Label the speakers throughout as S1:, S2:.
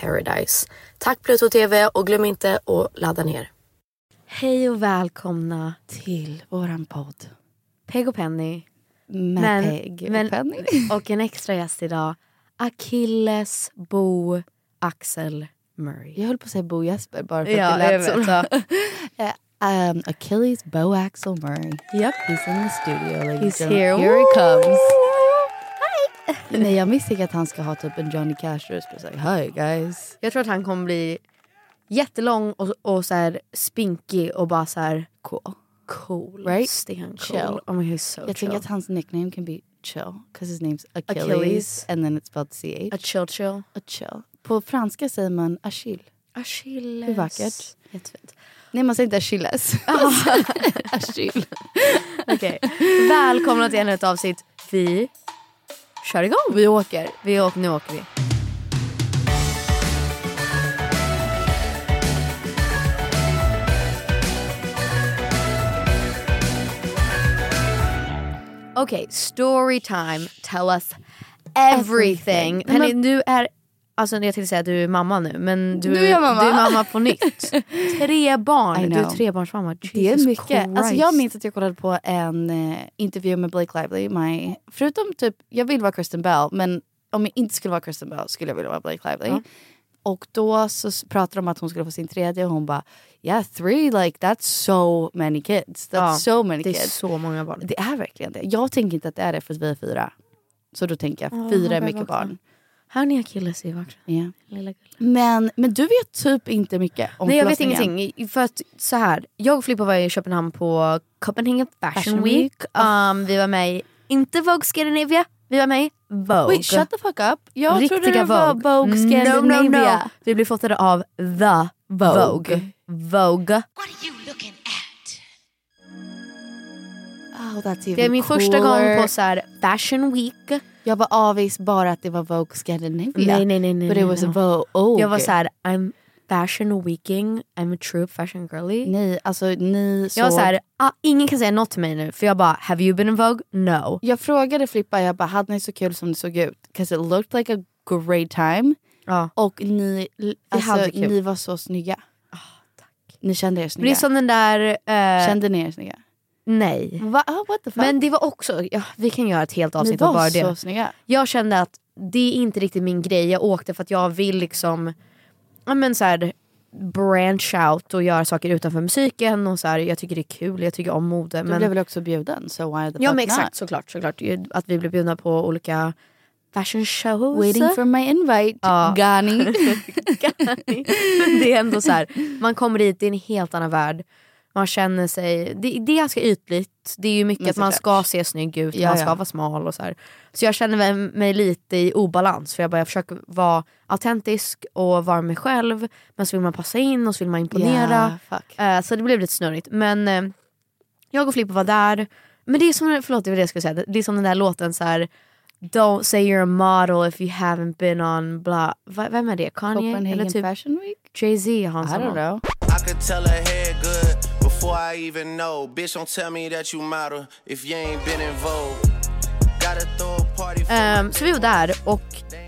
S1: paradise. Tack Pluto TV och glöm inte att ladda ner.
S2: Hej och välkomna
S3: Till våran podd
S2: Peg och Penny.
S3: med
S2: Men-
S3: Peg och
S2: men-
S3: Penny.
S2: Och en extra gäst idag. Achilles Bo Axel Murray.
S4: Jag höll på att säga Bo Jesper bara för att
S2: Ja,
S4: det
S2: jag
S4: lät så
S2: vet.
S4: bra. Eh, um, Achilles Bo Axel Murray.
S2: Japp.
S4: He's in the studio. ladies
S2: He's
S4: and
S2: here.
S4: gentlemen. Here he comes.
S2: Hi.
S4: Nej, jag misstänker att han ska ha typ en Johnny Cash-röst och säga hi guys.
S2: Jag tror att han kommer bli jättelång och, och så här spinkig och bara så här
S4: Cool.
S2: cool.
S4: Right?
S2: Stencool.
S4: Chill.
S2: Oh my god, he's so
S4: Jag
S2: chill.
S4: tänker att hans nickname can be chill. Because his name's Achilles,
S2: Achilles.
S4: and then it's spelled CH.
S2: A chill chill.
S4: A chill. På franska säger man Achille.
S2: Achilles.
S4: Hur vackert?
S2: Jättefint.
S4: Nej, man säger inte Achilles. Achille.
S2: Okej. Välkomna till ännu ett avsnitt. Vi kör igång. Vi åker. Vi åker nu åker vi. Okej, story time. Tell us everything. Henny, du är... Alltså jag tänkte säga att du är mamma nu men du,
S4: Nu är jag mamma.
S2: du är mamma på nytt. Tre
S4: I
S2: barn. Du är
S4: know.
S2: trebarnsmamma. Jesus
S4: Det är mycket. Alltså
S2: Christ.
S4: jag minns att jag kollade på en eh, intervju med Blake Lively. My, förutom typ, jag vill vara Kristen Bell, men om jag inte skulle vara Kristen Bell skulle jag vilja vara Blake Lively. Och då så s- pratade de om att hon skulle få sin tredje och hon bara yeah three like that's so many kids. That's
S2: Ja,
S4: so many
S2: Det är
S4: kids.
S2: så många barn.
S4: Det är verkligen det. Jag tänker inte att det är det för att vi är fyra. Så då tänker jag fyra är
S2: börjar
S4: mycket
S2: vakna.
S4: barn.
S2: Här ni Achilles i vart.
S4: Ja.
S2: Lilla gullig.
S4: Men, men du vet typ inte mycket om
S2: Nej jag vet
S4: förlossningen.
S2: ingenting. För att så här, jag och Filippa var i Köpenhamn på Copenhagen Fashion,
S4: Fashion
S2: Week.
S4: Week.
S2: Um, vi var med i, inte Vogue Scandinavia, vi var med i Vogue.
S4: Wait shut the fuck up. Jag trodde
S2: Riktiga
S4: det var
S2: Vogue. Mm,
S4: Vogue Scandinavia.
S2: No, no, no. Vi blev fotade av The Vogue.
S4: Vogue.
S2: Vogue.
S5: Wow, that's even
S2: Det är min första
S5: cooler.
S2: gång på så här Fashion Week.
S4: Jag var avis bara att det var Vogue Scandinavia.
S2: Nej, nej, nej, nej,
S4: But
S2: nej,
S4: it was
S2: nej.
S4: Vogue.
S2: Jag var så här, I'm fashion weeking, I'm a true fashion girly.
S4: Nej, alltså ni såg...
S2: Jag var så här, ah, ingen kan säga något till mig nu för jag bara, have you been in Vogue? No.
S4: jag frågade Flippa, jag bara, hade ni så kul som det såg ut? Cause it looked like a great time.
S2: Ja.
S4: Och ni, alltså,
S2: hade kul. Ah,
S4: ni var så snygga. Ni kände er
S2: Men det är
S4: snygga.
S2: som den där, eh,
S4: Kände ni er snygga?
S2: nej.
S4: Va? Ah, what the fuck?
S2: Men det var också, ja, vi kan göra ett helt
S4: ni
S2: avsnitt av bara
S4: var så
S2: det.
S4: snygga.
S2: Jag kände att det är inte riktigt min grej, jag åkte för att jag vill liksom, ja men så här, branch out och göra saker utanför musiken och så här, jag tycker det är kul, jag tycker om mode.
S4: Du
S2: men...
S4: blev väl också bjuden? So why the fuck
S2: Ja men
S4: not?
S2: exakt såklart, såklart. Ju- Att vi blir bjudna på olika fashion shows.
S4: Waiting for my invite,
S2: Ja.
S4: Ghani.
S2: Men det är ändå så här, man kommer dit, det är en helt annan värld. Man känner sig, det, det är ganska ytligt. Det är ju mycket
S4: Men
S2: att man ska
S4: såklart.
S2: se snygg ut,
S4: Ja,
S2: man ska
S4: ja.
S2: vara smal och så här. Så jag känner väl mig lite i obalans för jag bara jag försöker vara autentisk och vara mig själv. Men så vill man passa in och så vill man imponera.
S4: Yeah, fuck.
S2: Eh, så det blev lite snurrigt. Men eh, jag och Filippa var där. Men det är som, förlåt det var det jag skulle säga. Det är som den där låten så här. Don't say you're a model if you haven't been on blah. V- vem är det? Kanye?
S4: Copenhagen
S2: Eller typ
S4: Fashion Week?
S2: Jay-Z har en
S4: I
S2: sån
S4: don't
S2: låt.
S4: know.
S6: I could tell her head good before I even know. Bitch, don't tell me that you model if you ain't been in vogue. Gotta throw a party for my
S2: Ehm, så vi var där och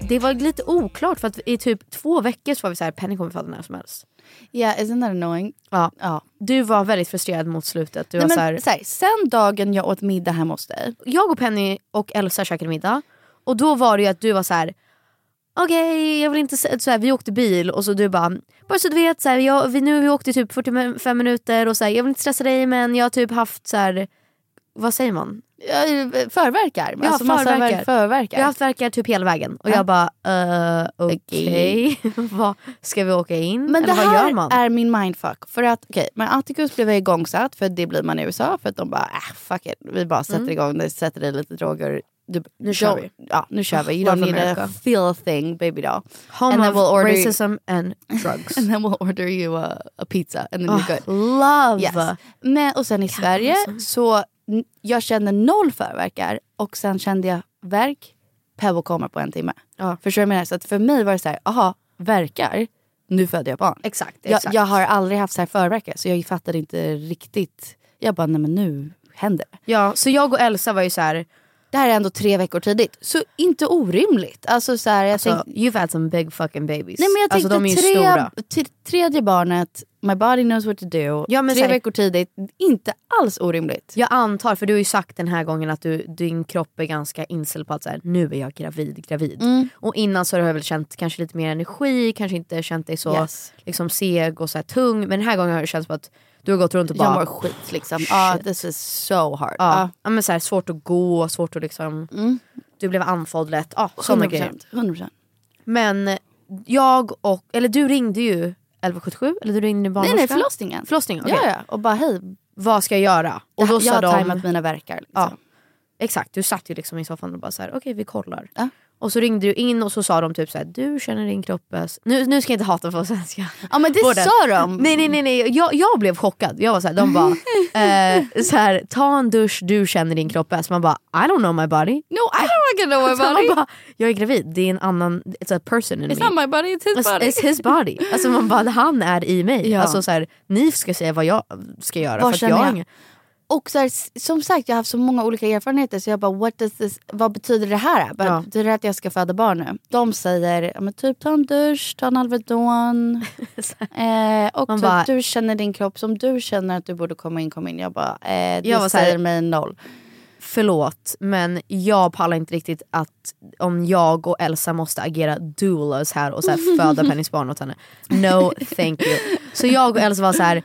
S2: det var lite oklart för att i typ två veckor så var vi så här, Penny kommer fatta när som helst.
S4: Yeah, isn't that annoying?
S2: Ja.
S4: Ja.
S2: Du var väldigt frustrerad mot slutet. Du
S4: Nej,
S2: var
S4: men,
S2: så här,
S4: så här, sen dagen jag åt middag hemma hos dig.
S2: jag och Penny och Elsa käkade middag och då var det ju att du var så här. Okej, jag vill inte se-" så här, vi åkte bil och så du bara, bara så du vet, så här, jag, vi, nu har vi åkt i typ 45 minuter och så här, jag vill inte stressa dig men jag har typ haft så här, vad säger man?
S4: Jag eh, förverkar.
S2: Ja,
S4: alltså, massa
S2: förverkar.
S4: ver-
S2: Jag
S4: förverkar. Eh,
S2: har haft verkar typ hela vägen och jag bara, uh, okej, Vad- ska vi åka in?
S4: Men det
S2: Eller vad
S4: här
S2: gör man?
S4: är min mindfuck. För att, okay, men Atticus blev igångsatt, för det blir man i USA. För att de bara, äh, fuck it. Vi bara sätter igång det, sätter i lite droger. Du,
S2: Nu kör
S4: Jo-
S2: vi.
S4: Ja, Mm. nu kör vi. You
S2: Love
S4: don't need
S2: America.
S4: a feel thing, baby doll.
S2: Home
S4: and then
S2: of
S4: we'll order-
S2: racism and drugs.
S4: And then we'll order you a, a pizza. And then you're good.
S2: Love!
S4: Yes. Men, och sen i Sverige,
S2: alltså.
S4: så n- jag kände noll förverkar och sen kände jag verk, Pebble kommer på en timme.
S2: Ja.
S4: Förstår du vad jag menar? Så att för mig var det så här, aha, verkar, nu föder jag barn.
S2: Exakt,
S4: Jag,
S2: exakt.
S4: jag har aldrig haft så här förverkar så jag fattade inte riktigt. Jag bara, nej men nu händer det.
S2: Ja, så jag och Elsa var ju så här,
S4: Det här är ändå tre veckor tidigt, så inte orimligt. Alltså så här, jag
S2: alltså,
S4: tänkte,
S2: you've had some big fucking babies.
S4: nej men jag
S2: alltså
S4: tänkte
S2: de är ju stora.
S4: tre, t- tredje barnet, my body knows what to do.
S2: Ja, men
S4: tre
S2: så här-
S4: veckor tidigt, inte alls orimligt.
S2: Jag antar, för du har ju sagt den här gången att du, din kropp är ganska inställd på att så här, nu är jag gravid, gravid.
S4: Mm.
S2: Och innan så har jag väl känt kanske lite mer energi, kanske inte känt dig så
S4: Yes.
S2: liksom, seg och så här, tung. Men den här gången har det känts som att du har gått runt och bara...
S4: Jag mår skit liksom. Ah, this is so hard.
S2: ja, ja, men så här, svårt att gå, svårt att liksom... Du blev andfådd lätt, ja,
S4: Ah,
S2: sådana grejer.
S4: Mm. 100%.
S2: Men jag och, eller du ringde ju 1177, eller du ringde
S4: Nej
S2: barnmorskan.
S4: nej, förlossningen.
S2: Förlossningen, okej.
S4: Ja, ja. Och bara hej,
S2: Vad ska jag göra? Och då
S4: jag
S2: sa
S4: har
S2: de,
S4: tajmat mina verkar. Liksom.
S2: Ja. Exakt, du satt ju liksom i soffan och bara så här, okej vi kollar.
S4: Ja.
S2: Och så ringde du in och så sa de typ så här, du känner din kropp bäst. Nu, nu ska jag inte hata på svenska.
S4: Ja, men det
S2: Vården.
S4: sa de.
S2: Nej nej nej, nej. Jag, jag blev chockad. Jag var så här, de bara, eh, så här, ta en dusch, du känner din kropp bäst. Man bara, I don't know my body.
S4: No, I don't wanna know
S2: Så man bara, jag är gravid, det är en annan, it's a person in me.
S4: my body, it's his
S2: It's, it's his body. Alltså man bara, han är i mig.
S4: Ja.
S2: Alltså så här, ni ska säga vad jag ska göra.
S4: Vad
S2: för att
S4: känner
S2: jag?
S4: jag? Och så här, s- som sagt, jag har haft så många olika erfarenheter så jag bara, What does this, vad betyder det här? Bara,
S2: Ja.
S4: Betyder det att jag ska föda barn nu? De säger, ja, men typ ta en dusch, ta en Alvedon. eh, och
S2: Man
S4: typ,
S2: bara-
S4: du känner din kropp som du känner att du borde komma in, kom in. Jag bara, eh, det
S2: Jag var så här-
S4: säger mig noll.
S2: förlåt men jag pallar inte riktigt att om jag och Elsa måste agera doulas här och så här föda Pennys barn åt henne. No thank you. Så jag och Elsa var så här.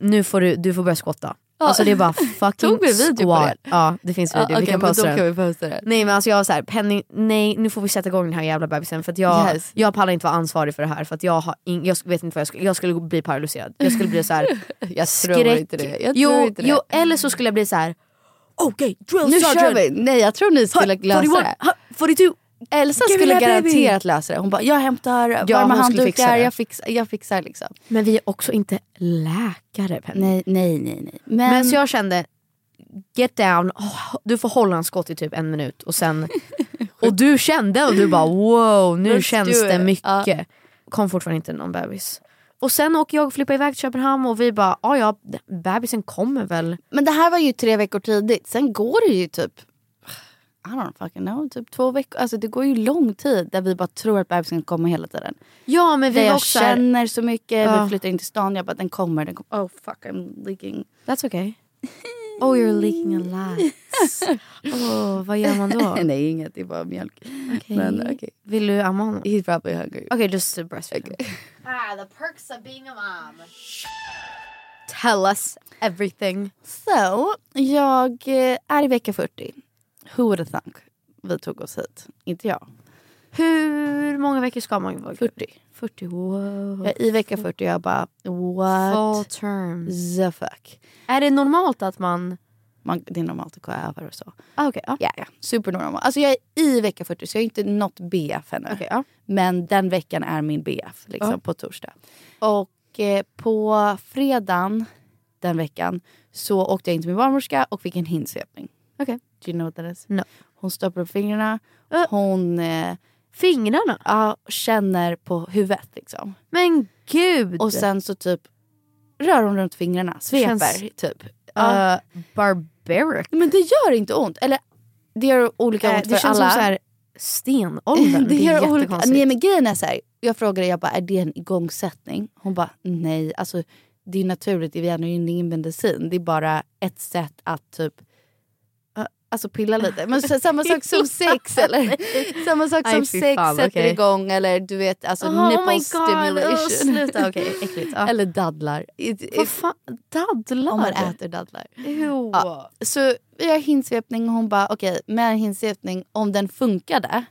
S2: nu får du, du får börja skotta. Alltså det är bara fucking
S4: Tog vi video på
S2: squat.
S4: det? Ah,
S2: Ja det finns video, vi kan posta den.
S4: vi posta det.
S2: Nej men alltså jag var såhär, Penny nej nu får vi sätta igång den här jävla bebisen för att jag,
S4: Yes.
S2: jag pallar inte vara ansvarig för det här för att jag, har in, jag vet inte vad jag skulle, jag skulle bli paralyserad. Jag skulle bli så här.
S4: Jag tror inte det. Jag
S2: jo,
S4: tror inte det.
S2: jo eller så skulle jag bli så här. okej drill
S4: Nu
S2: sergeant.
S4: kör vi! Nej jag tror ni skulle lösa det.
S2: 42.
S4: Elsa
S2: Give me
S4: skulle
S2: that baby.
S4: garanterat lösa det. Hon bara, jag hämtar
S2: Ja,
S4: varma
S2: hon skulle fixa
S4: handdukar,
S2: det.
S4: jag fixar, jag fixar liksom.
S2: Men vi är också inte läkare Penny.
S4: Nej, nej, nej. nej. Men,
S2: Men så jag kände, get down, oh, du får hollandskott i typ en minut och sen... och du kände och du bara wow, nu
S4: Let's
S2: känns
S4: do
S2: det
S4: it.
S2: mycket. Kom fortfarande inte någon bebis. Och sen åker jag och Filippa iväg till Köpenhamn och vi bara, ah, ja ja, bebisen kommer väl.
S4: Men det här var ju tre veckor tidigt. Sen går det ju typ... I don't fucking know. Typ två veckor. Alltså det går ju lång tid där vi bara tror att bebisen kommer hela tiden.
S2: Ja men vi
S4: där
S2: var
S4: jag
S2: också såhär,
S4: känner så mycket.
S2: Ja.
S4: Vi flyttar in till stan. Jag bara den kommer. Den kommer. Oh fuck I'm leaking.
S2: that's okay. Oh you're leaking a lot. Åh, vad gör man då?
S4: Nej inget. Det är bara mjölk.
S2: Okej.
S4: Men okej.
S2: Vill du amma honom?
S4: He's probably hungry.
S2: Okay, just to breastfeed. Ah, the perks of being a mom. Tell us everything.
S4: So, jag eh, är i vecka 40. Who would have thunk? Vi tog oss hit. Inte jag.
S2: Hur många veckor ska man vara
S4: 40.
S2: 40, wow.
S4: Jag är i vecka 40 jag bara
S2: Full
S4: what
S2: term.
S4: the fuck.
S2: Är det normalt att man...
S4: Man, det är normalt att gå över och så.
S2: Ah, Okej, ja.
S4: Ja, ja. Supernormal. Alltså jag är i vecka 40 så jag är inte nått BF ännu.
S2: Okej, ja.
S4: Men den veckan är min BF liksom,
S2: Ja.
S4: på torsdag. Och eh, på fredagen den veckan så åkte jag in till min barnmorska och fick en hinnsvepning.
S2: Okej.
S4: Do you know what that is?
S2: No.
S4: Hon stoppar upp fingrarna.
S2: Ö.
S4: Hon eh,
S2: Fingrarna?
S4: ja, känner på huvudet liksom.
S2: Men gud!
S4: Och sen så typ rör hon runt fingrarna. Sveper
S2: Känns-
S4: typ.
S2: Ja. eh, barbaric.
S4: Men det gör inte ont. Eller det gör olika
S2: Eh,
S4: ont för
S2: det känns
S4: alla.
S2: som så här stenåldern. det, är
S4: olika-
S2: jättekonstigt.
S4: Nej men grejen är så här, jag frågade jag bara, är det en igångsättning? Hon bara, nej. Alltså, det är ju naturligt, vi använder ju ingen medicin. Det är bara ett sätt att typ eh, Alltså pilla lite. Men så, samma sak som sex eller? Samma sak
S2: Nej,
S4: som
S2: fy
S4: sex
S2: fan,
S4: sätter
S2: okej.
S4: igång eller du vet alltså
S2: Aha, oh my
S4: nipple
S2: god,
S4: stimulation.
S2: åh, sluta. Okej, äckligt, ja.
S4: Eller dadlar. It-
S2: Vad
S4: if-
S2: fan? Dadlar?
S4: om man äter dadlar.
S2: Ew.
S4: Ja. Så vi har hinnsvepning och hon bara okej, med en hinnsvepning om den funkade,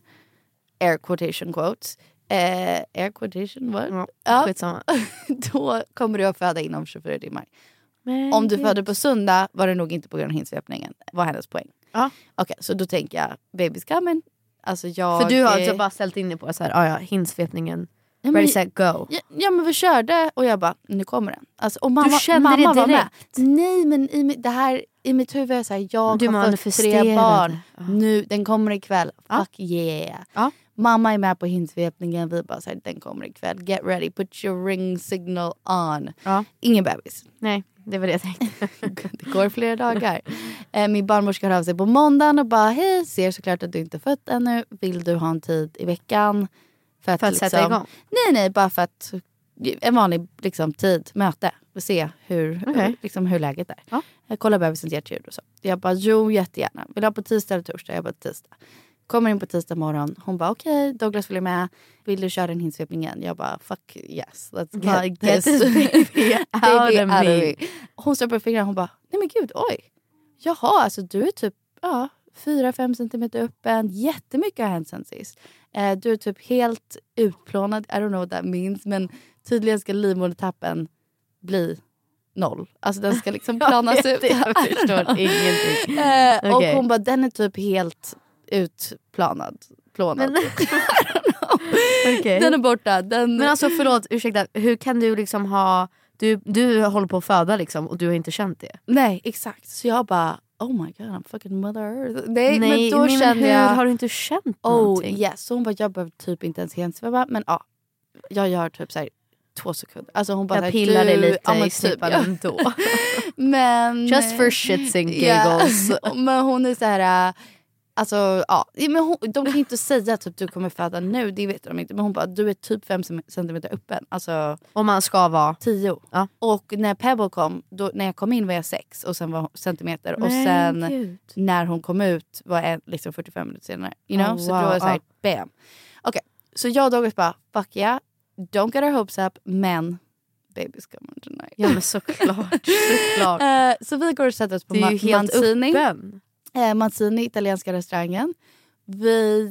S4: air quotation quotes, eh, air quotation what?
S2: Ja,
S4: Ja.
S2: Skitsamma.
S4: Då kommer du att föda inom 24 timmar.
S2: Men
S4: Om du
S2: gud.
S4: föder på söndag var det nog inte på grund av hinnsvepningen, var hennes poäng.
S2: Ja.
S4: Okej, så då tänker jag baby's coming. Alltså jag...
S2: För du har
S4: eh,
S2: alltså bara ställt in dig på så här, ah, ja, hinnsvepningen.
S4: ja, men-
S2: Ready, set, go.
S4: Ja, ja men vi körde och jag bara, nu kommer den. Alltså, och mamma,
S2: kände
S4: mamma
S2: det
S4: var med.
S2: direkt?
S4: Nej men i, mitt- det här, i mitt huvud är jag såhär, jag
S2: Du
S4: har fått
S2: manifesterade.
S4: tre barn.
S2: Ja.
S4: Nu, den kommer ikväll.
S2: Ja.
S4: Fuck yeah.
S2: Ja.
S4: Mamma är med på hintsvepningen, vi bara såhär, den kommer ikväll. Get ready, put your ring signal on.
S2: Ja.
S4: Ingen bebis.
S2: Nej, det var det jag tänkte.
S4: Det går flera dagar. Eh, Min barnmorska hör av sig på måndagen och bara hej, ser såklart att du inte fött ännu. Vill du ha en tid i veckan? För att, liksom-
S2: För att liksom- sätta igång?
S4: Nej, nej, bara för att en vanlig liksom, tid, möte. Och se hur,
S2: Okej.
S4: liksom, hur läget är.
S2: Ja.
S4: Jag kollar bebisens hjärtljud och så. Jag bara jo, jättegärna. Vill du ha på tisdag eller torsdag? Jag bara tisdag. Kommer in på tisdag morgon. Hon bara okej, Douglas följer med. Vill du köra den hinnsvepning igen? Jag bara fuck yes, let's
S2: Bara,
S4: get,
S2: get
S4: this
S2: this baby out of
S4: Baby out of
S2: me.
S4: me. Hon stoppar upp fingrarna och hon bara, nej men gud, oj. Jaha, alltså du är typ ja, 4-5 centimeter öppen. Jättemycket har hänt sen sist. Eh, du är typ helt utplånad. I don't know what that means. Men tydligen ska livmodertappen bli noll. Alltså den ska liksom planas ut.
S2: Jag
S4: I don't know.
S2: förstår ingenting.
S4: Eh, Och
S2: Okej.
S4: hon bara, den är typ helt utplanad. Plånad. typ.
S2: Okej.
S4: Den är borta. Den...
S2: Men alltså förlåt, ursäkta. Hur kan du liksom ha... Du, du håller på att föda liksom och du har inte känt det?
S4: Nej, exakt. Så jag bara, oh my god, I'm fucking mother earth. Nej, men då
S2: nej,
S4: kände
S2: hur
S4: jag...
S2: har du inte känt
S4: Oh
S2: någonting?
S4: yes. Så hon bara, jag behöver typ inte ens hensväva. Men ja, jag gör typ så här två sekunder. Alltså hon bara, så
S2: Jag
S4: här,
S2: pillar dig
S4: du-
S2: lite
S4: ja, men
S2: i
S4: typ,
S2: snippan
S4: ja.
S2: ändå.
S4: Men, eh,
S2: Just for shits and
S4: Ja,
S2: giggles.
S4: men hon är så här... äh, Alltså, ja. Men hon, de kan ju inte säga typ du kommer föda nu, det vet de inte. Men hon bara, du är typ fem cem- centimeter öppen. Alltså
S2: Om man ska vara...
S4: tio.
S2: Ja.
S4: Och när Pebble kom, då, när jag kom in var jag sex och sen var hon centimeter. och
S2: Men
S4: sen
S2: gud.
S4: när hon kom ut var en, liksom 45 minuter senare. You know?
S2: Oh,
S4: så
S2: wow,
S4: då var det såhär, bam. Okej, så jag och Douglas bara, fuck yeah, don't get our hopes up, men baby's coming tonight.
S2: Ja men såklart. såklart.
S4: Eh, så vi går och sätter oss på
S2: Du är ju
S4: Ma-
S2: helt
S4: Mancini.
S2: öppen.
S4: Eh, Mancini, italienska restaurangen. Vi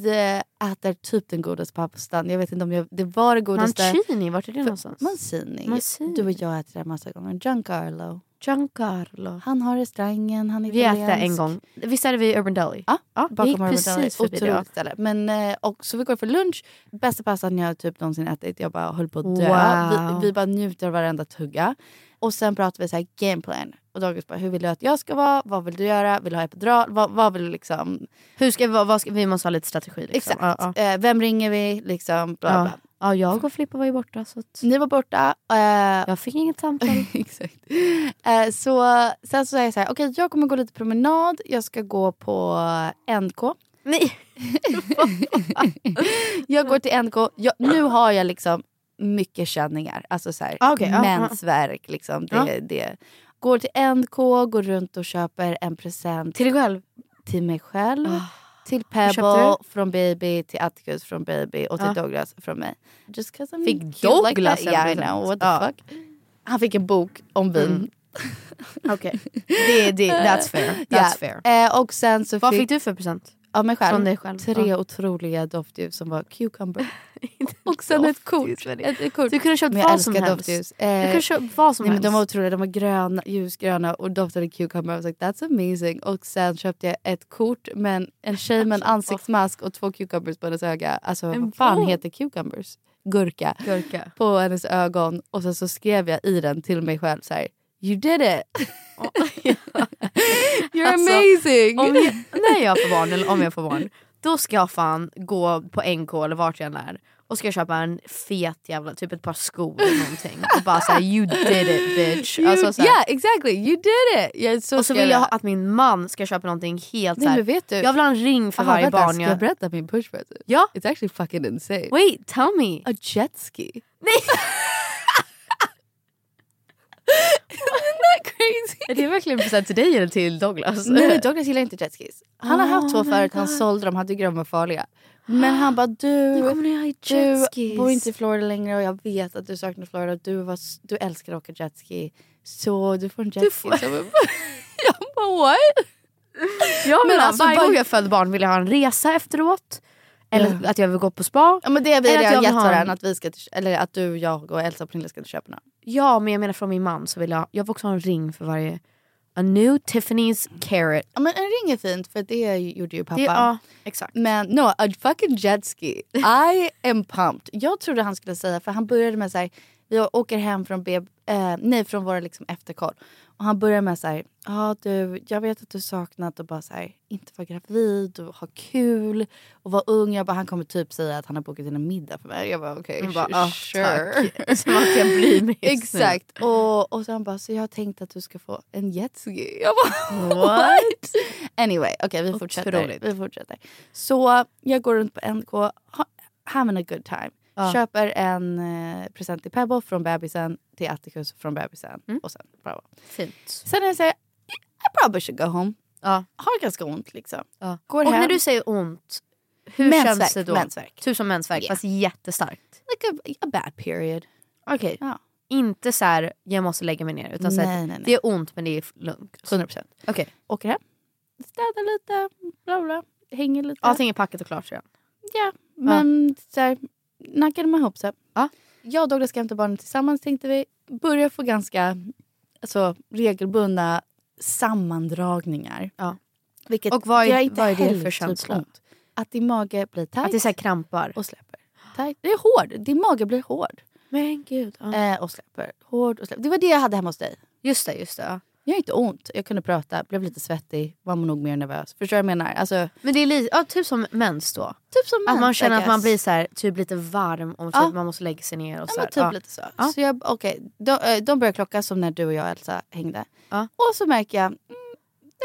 S4: eh, äter typ den godaste pastan. Jag vet inte om jag, det var det godaste.
S2: Mancini, vart är det någonstans?
S4: Mancini.
S2: Mancini.
S4: Du och jag äter det här massa gånger. Giancarlo.
S2: Giancarlo.
S4: Han har restaurangen, han är
S2: Vi äter
S4: italiensk.
S2: en gång. Visst är det vid Urban Deli?
S4: Ja,
S2: ja vi gick
S4: Bakom
S2: precis
S4: precis
S2: förbi det.
S4: Otroligt ställe. Men, eh, och, så vi går för lunch. Bästa pastan jag typ någonsin ätit. Jag bara höll på att dö.
S2: Wow.
S4: Vi, vi bara njuter av varenda tugga. Och sen pratar vi så här game plan. Och på dagis bara, hur vill du att jag ska vara? Vad vill du göra? Vill du ha epidural? Vad, vad vill du liksom?
S2: Hur ska, vad, vad ska, vi måste ha lite strategi. Liksom.
S4: Exakt.
S2: Ja, ja.
S4: Eh, vem ringer vi? Liksom, bla,
S2: Ja.
S4: bla.
S2: Ja, jag och Filippa var ju borta så att
S4: Ni var borta. Eh,
S2: jag fick inget samtal.
S4: Exakt. Eh, så, sen så säger jag så här, okej jag kommer gå lite promenad, jag ska gå på NK.
S2: Nej.
S4: jag går till NK, jag, nu har jag liksom mycket känningar, alltså så här,
S2: Ah, okej, ja,
S4: mensvärk. Liksom, det,
S2: Ja.
S4: det. Går till NK, går runt och köper en present till,
S2: dig själv?
S4: mig själv. Till
S2: Ah. köpte
S4: Pebble från Baby, till Atticus från Baby och till
S2: Ja.
S4: Douglas från mig. Just 'cause I'm
S2: Fick
S4: cute like
S2: Douglas
S4: that.
S2: en
S4: Yeah, I
S2: present?
S4: know, what the
S2: Ja.
S4: fuck. Han fick en bok om vin.
S2: Mm. Okej, det, det, that's fair. That's
S4: Ja.
S2: fair.
S4: Eh, och sen så
S2: Vad
S4: fick,
S2: fick du för present?
S4: av mig själv,
S2: Från dig själv? Ah.
S4: tre otroliga doftljus som var cucumber. och sen ett kort. Ett, ett kort.
S2: Du kunde ha köpt
S4: men jag
S2: vad som
S4: älskar
S2: helst.
S4: doftljus.
S2: Du
S4: Eh,
S2: kunde köpa vad som
S4: nej, men
S2: helst.
S4: de var otroliga, de var gröna, ljusgröna och doftade cucumber. Jag var like, that's amazing. Och sen köpte jag ett kort med en, en tjej med en ansiktsmask och två cucumbers på hennes öga. Alltså vad fan
S2: vad?
S4: heter cucumbers? Gurka.
S2: Gurka.
S4: På hennes ögon. Och sen så skrev jag i den till mig själv så här, you did it! You're
S2: Alltså,
S4: amazing!
S2: Om jag, när jag får barn, eller om jag får barn, då ska jag fan gå på NK eller vart jag än är och ska jag köpa en fet jävla, typ ett par skor eller någonting. Och bara såhär you did it bitch.
S4: You,
S2: Alltså, så här,
S4: yeah exactly, you did it! Jag, så
S2: och så
S4: ska
S2: vill jag
S4: göra.
S2: ha- att min man ska köpa någonting helt
S4: Nej, men
S2: såhär.
S4: vet du?
S2: Jag vill ha en ring för
S4: Aha,
S2: varje
S4: vänta,
S2: barn
S4: Ska jag
S2: jag...
S4: berätta min push present?
S2: Ja.
S4: It's actually fucking insane.
S2: Wait, tell me.
S4: A jet ski.
S2: Är det verkligen present till dig eller till Douglas?
S4: Nej men Douglas gillar inte jetskis. Han har haft
S2: Oh
S4: två
S2: my
S4: förut, han
S2: God.
S4: sålde dem, han tycker de är farliga. Men han bara
S2: Nu
S4: du,
S2: kommer ni ha
S4: du
S2: jetskis.
S4: bor inte i Florida längre och jag vet att du saknar Florida. Du, var, s- du älskar att åka jetski. Så du får en jetski.
S2: får-
S4: Så Jag bara- jag bara what?
S2: Ja, men
S4: Men
S2: alltså,
S4: alltså,
S2: varje
S4: bara-
S2: gång jag födde barn ville jag ha en resa efteråt. Eller att jag vill gå på spa.
S4: Ja men det är vi
S2: Eller att jag
S4: redan
S2: vill
S4: gett
S2: ha en-
S4: varandra att, vi ska till- eller att du, jag och Elsa och Pernilla ska till Köpenhamn.
S2: Ja men jag menar från min man så vill jag, jag vill också ha en ring för varje. A new Tiffany's carrot.
S4: Ja men en ring är fint för det gjorde ju pappa. Mm,
S2: Det, ja, exakt.
S4: Men no, a fucking jet ski. I am pumped. Jag trodde han skulle säga, för han började med så här, vi åker hem från, B, eh, nej, från våra liksom efterkoll. Och han började med så här, ja du, jag vet att du saknat och bara så här, inte vara gravid och ha kul och vara ung. Jag bara, han kommer typ säga att han har bokat in en middag för mig. Jag bara okej,
S2: Jag bara,
S4: su-
S2: ah,
S4: sure.
S2: Som att jag bryr mig just nu.
S4: Exakt. Och, och så han bara, så jag har tänkt att du ska få en jetski. Jag bara,
S2: What?
S4: Anyway, okej vi fortsätter.
S2: Otroligt.
S4: vi fortsätter. Så jag går runt på NK, ha- having a good time.
S2: Ja.
S4: Köper en eh, present till Pebble från bebisen, till Atticus från bebisen
S2: Mm.
S4: och sen Bravo.
S2: Fint.
S4: Sen när jag säger I probably should go home.
S2: Ja.
S4: Har ganska ont liksom.
S2: Ja.
S4: Går
S2: och
S4: hem.
S2: när du säger ont, hur
S4: Mensvärk,
S2: känns det då?
S4: mensvärk.
S2: Typ som mensvärk
S4: Yeah.
S2: fast jättestarkt.
S4: Like a, a bad period.
S2: Okej.
S4: Ja.
S2: Inte så här, jag måste lägga mig ner. Utan så här,
S4: Nej, nej, nej.
S2: det är ont men det är lugnt.
S4: 100 procent.
S2: Okej.
S4: Åker hem, städar lite, bla bla, hänger lite.
S2: Allting är packat och klart tror jag.
S4: Ja, men så här, nackade man ihop sig.
S2: Ja.
S4: Jag och Douglas ska hämta barnen tillsammans tänkte vi. Börjar få ganska alltså, regelbundna sammandragningar.
S2: Ja.
S4: Vilket
S2: Och vad är-
S4: gör inte
S2: vad är det
S4: heller
S2: för
S4: typ
S2: känsla?
S4: ont. Att din mage blir tajt
S2: Att det är så här krampar.
S4: och släpper. Tajt. Det är hård. Din mage blir hård
S2: Men gud. Ja.
S4: eh, och släpper. Hård och släpper. Det var det jag hade hemma hos dig.
S2: Just det, just det. Ja.
S4: Jag har inte ont. Jag kunde prata, blev lite svettig, var nog mer nervös. Förstår du vad jag menar? Alltså,
S2: Men det är lite, ja, typ som mens då.
S4: typ som
S2: Att man
S4: mens,
S2: känner
S4: I
S2: att man
S4: guess.
S2: blir så här, typ lite varm och typ
S4: Ja.
S2: man måste lägga sig ner. Och
S4: Ja,
S2: så
S4: men
S2: här.
S4: typ
S2: Ja.
S4: lite så.
S2: Ja.
S4: Så jag, okay, de, eh, de börjar klocka som när du och jag och Elsa hängde.
S2: Ja.
S4: Och så märker jag, mm,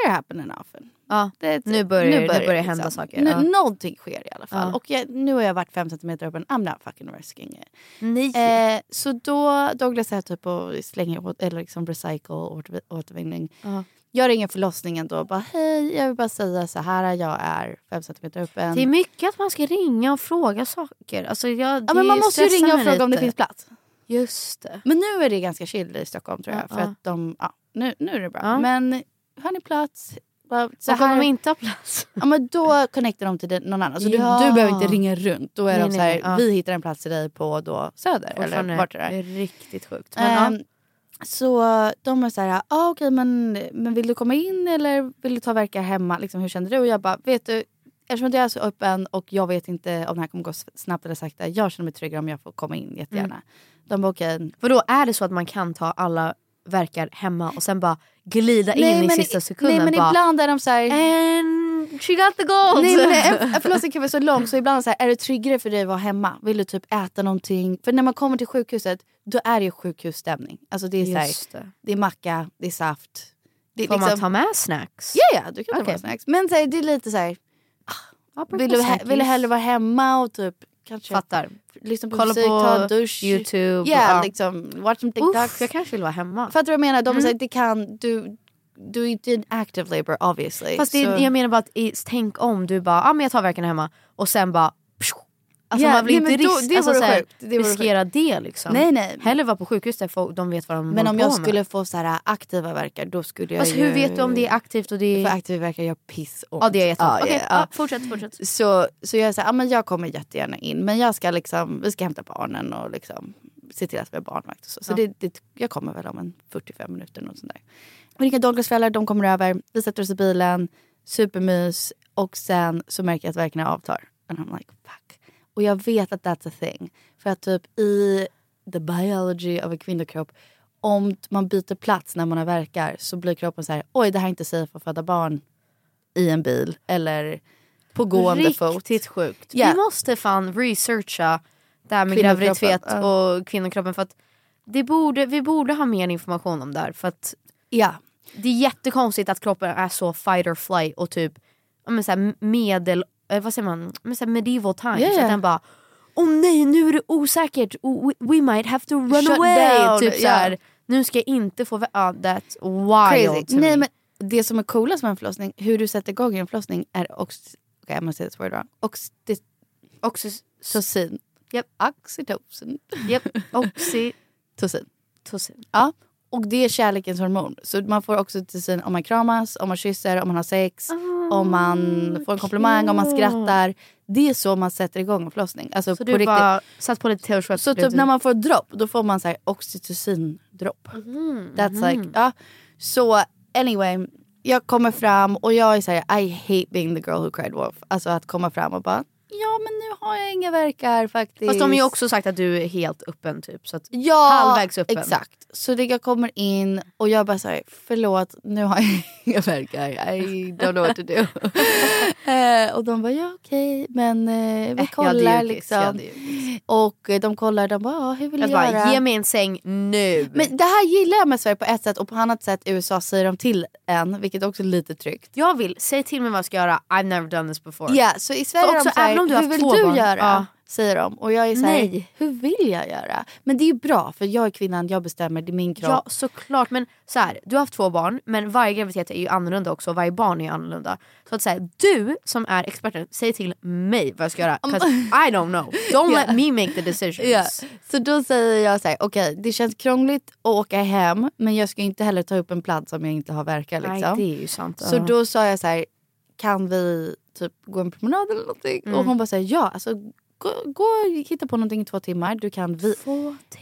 S4: they're happening often.
S2: Ja.
S4: Det- liksom.
S2: Nu börjar det- nu börjar det hända saker,
S4: Nu,
S2: ja.
S4: Någonting sker i alla fall.
S2: Ja.
S4: Och jag, nu har jag varit fem centimeter upp, men I'm not fucking risking it.
S2: Nej.
S4: Eh, så då Douglas är typ och slänger åt, eller liksom recycle, åter, återvinning.
S2: Ja.
S4: Jag ringer förlossningen då och bara hej, jag vill bara säga så här, jag är fem centimeter upp.
S2: det är mycket att man ska ringa och fråga saker. Alltså jag,
S4: ja,
S2: det
S4: men man måste ju
S2: stressar
S4: ringa och
S2: mig
S4: fråga om det
S2: lite.
S4: finns plats.
S2: Just det.
S4: Men nu är det ganska chill i Stockholm tror jag. För
S2: Ja.
S4: att de, ja, nu, nu är det bra.
S2: Ja.
S4: Men har ni plats? Bara Så
S2: och om
S4: här,
S2: de inte har plats.
S4: ja, men då connectar de till din- någon annan. Så
S2: Ja.
S4: du, du behöver inte ringa runt. Då är
S2: Nej,
S4: de så här,
S2: nej, nej, ja.
S4: vi hittar en plats till dig på då Söder.
S2: Åh, fan,
S4: eller vart det är.
S2: det är riktigt sjukt. Men,
S4: Ehm, Så de var så här, ah, okej men, men vill du komma in eller vill du ta och verka hemma? Liksom, hur kände du? Och jag bara, vet du, eftersom att jag är så öppen och jag vet inte om det här kommer gå s- snabbt eller sakta.
S2: Mm.
S4: Jag känner mig tryggare om jag får komma in jättegärna. De bara, okej,
S2: ja. då är det så att man kan ta alla verkar hemma och sen bara glida in i sista sekunden.
S4: nej men
S2: bara, "Äh, alltså."
S4: ibland är de så här...
S2: And she got the gold!
S4: Nej, men en- en förlossning kan vara så lång så ibland så här, är det tryggare för dig att vara hemma? Vill du typ äta någonting? För när man kommer till sjukhuset då är det ju sjukhusstämning. Alltså det är, så här,
S2: Just det.
S4: det är macka, det är saft. Det är
S2: Får man
S4: liksom,
S2: ta med snacks?
S4: Ja, ja, du kan ta
S2: Okej.
S4: med snacks. Men så här, det är lite så här,
S2: Ja,
S4: vill du, he-
S2: säkert.
S4: vill du hellre vara hemma och typ kanske
S2: Fattar.
S4: lyssna på
S2: Kolla
S4: musik,
S2: på
S4: ta en dusch?
S2: YouTube.
S4: yeah,
S2: ja.
S4: liksom, watch some
S2: Uff, jag
S4: TikToks.
S2: Mm. kanske vill vara hemma.
S4: Fattar du vad jag menar? De säger det kan, du, du är inte en active labor obviously.
S2: Fast det,
S4: så-
S2: jag menar bara att i, tänk om du bara, ja ah, men jag tar verkarna hemma och sen bara pssch. Alltså
S4: Ja,
S2: man vill
S4: nej,
S2: inte
S4: men då-
S2: risk,
S4: det
S2: alltså,
S4: vore
S2: så här,
S4: sjukt. Det vore
S2: riskera det liksom.
S4: Nej, nej.
S2: Hellre vara på sjukhus där folk, de vet vad de
S4: Men
S2: håller
S4: om
S2: på
S4: jag
S2: med.
S4: skulle få så här aktiva verkar då skulle jag
S2: Fast
S4: ju...
S2: hur vet du om det är aktivt och det
S4: För
S2: är...
S4: aktiva verkar gör pissont.
S2: Ja det är jätteont.
S4: Ja,
S2: Okej,
S4: ja,
S2: ja,
S4: ja.
S2: fortsätt, fortsätt.
S4: Så, så jag är så här, ja, men jag kommer jättegärna in men jag ska liksom, vi ska hämta barnen och liksom se till att vi har barnvakt och så. Så
S2: Ja.
S4: det, det, jag kommer väl om en 45 minuter något sånt där. Vi ringer Douglas föräldrar, de kommer över, vi sätter oss i bilen, supermys och sen så märker jag att verkarna avtar. And I'm like fuck. Och jag vet att that's a thing. För att typ i the biology of a kvinnokropp om man byter plats när man har verkar så blir kroppen så här, oj det här är inte safe att föda barn i en bil eller på gående fot.
S2: Riktigt sjukt.
S4: Ja.
S2: Vi måste fan researcha det här med
S4: Kvinnokroppen,
S2: graviditet
S4: ja.
S2: och kvinnokroppen för att det borde, vi borde ha mer information om det här för att
S4: Ja.
S2: Det är jättekonstigt att kroppen är så fight or flight och typ ja, men så här medel, eh, vad säger man, men så här medieval times.
S4: Ja, ja.
S2: Att den bara Åh nej nu är det osäkert, Oh, we, we might have to run
S4: Shut
S2: away.
S4: down.
S2: Typ så här,
S4: Ja.
S2: Nu ska jag inte få, vä- ja that's wild
S4: Crazy.
S2: to me.
S4: Nej, men det som är coolast med en förlossning, hur du sätter igång en förlossning är ox... Okej, jag måste säga this word wrong. Oxy- Oxytocin.
S2: Japp.
S4: Oxytocin.
S2: Japp, oxy,
S4: Tocin.
S2: tocin.
S4: Ja. Och det är kärlekens hormon. Så man får oxytocin om man kramas, om man kysser, om man har sex, om man får en komplimang, om man skrattar. Det är så man sätter igång en förlossning. Alltså
S2: Så
S4: på
S2: du
S4: riktigt.
S2: bara satt på lite Taylor Swift.
S4: Så typ när man får dropp, då får man så här oxytocin-dropp.
S2: Mhm,
S4: That's like, ja. Så anyway, jag kommer fram och jag är så här, I hate being the girl who cried wolf. Alltså att komma fram och bara, ja men nu har jag inga verkar faktiskt.
S2: Fast de har ju också sagt att du är helt öppen typ. Så att,
S4: ja,
S2: halvvägs öppen.
S4: Exakt. Så det, jag kommer in och jag bara säger förlåt nu har jag inga verkar. I don't know what to do. Eh, och de bara, ja okej men eh, vi
S2: Eh, jag hade
S4: kollar
S2: ljugit,
S4: liksom.
S2: jag hade ljugit.
S4: och eh, de kollar, de bara, ja, hur vill
S2: Jag
S4: du göra?
S2: bara, ge mig en säng nu.
S4: Men det här gillar jag med Sverige på ett sätt och på annat sätt USA säger de till en, vilket också är lite tryggt.
S2: jag vill, säg till mig vad jag ska göra, I've never done this before.
S4: Ja, så i Sverige
S2: För
S4: är
S2: också,
S4: de så här,
S2: även om du har
S4: hur
S2: haft
S4: vill
S2: två
S4: du
S2: barn?"
S4: göra?
S2: Ja.
S4: Säger de. Och jag är så här,
S2: Nej.
S4: hur vill jag göra? Men det är ju bra för jag är kvinnan, jag bestämmer, det är min kropp.
S2: Ja såklart men så här, du har haft två barn men varje graviditet är ju annorlunda också och varje barn är ju annorlunda. Så att säga, du som är experten, säg till mig vad jag ska göra. 'cause I don't know. Don't let me make the decisions. liksom.
S4: Ja, Så då säger jag så här, okej det känns krångligt att åka hem men jag ska ju inte heller ta upp en plats om jag inte har verkar liksom.
S2: Nej det är ju sant.
S4: Så då sa jag så här, kan vi typ gå en promenad eller någonting? Och hon bara så här, ja alltså gå, gå och hitta på någonting i två timmar. Du kan vi-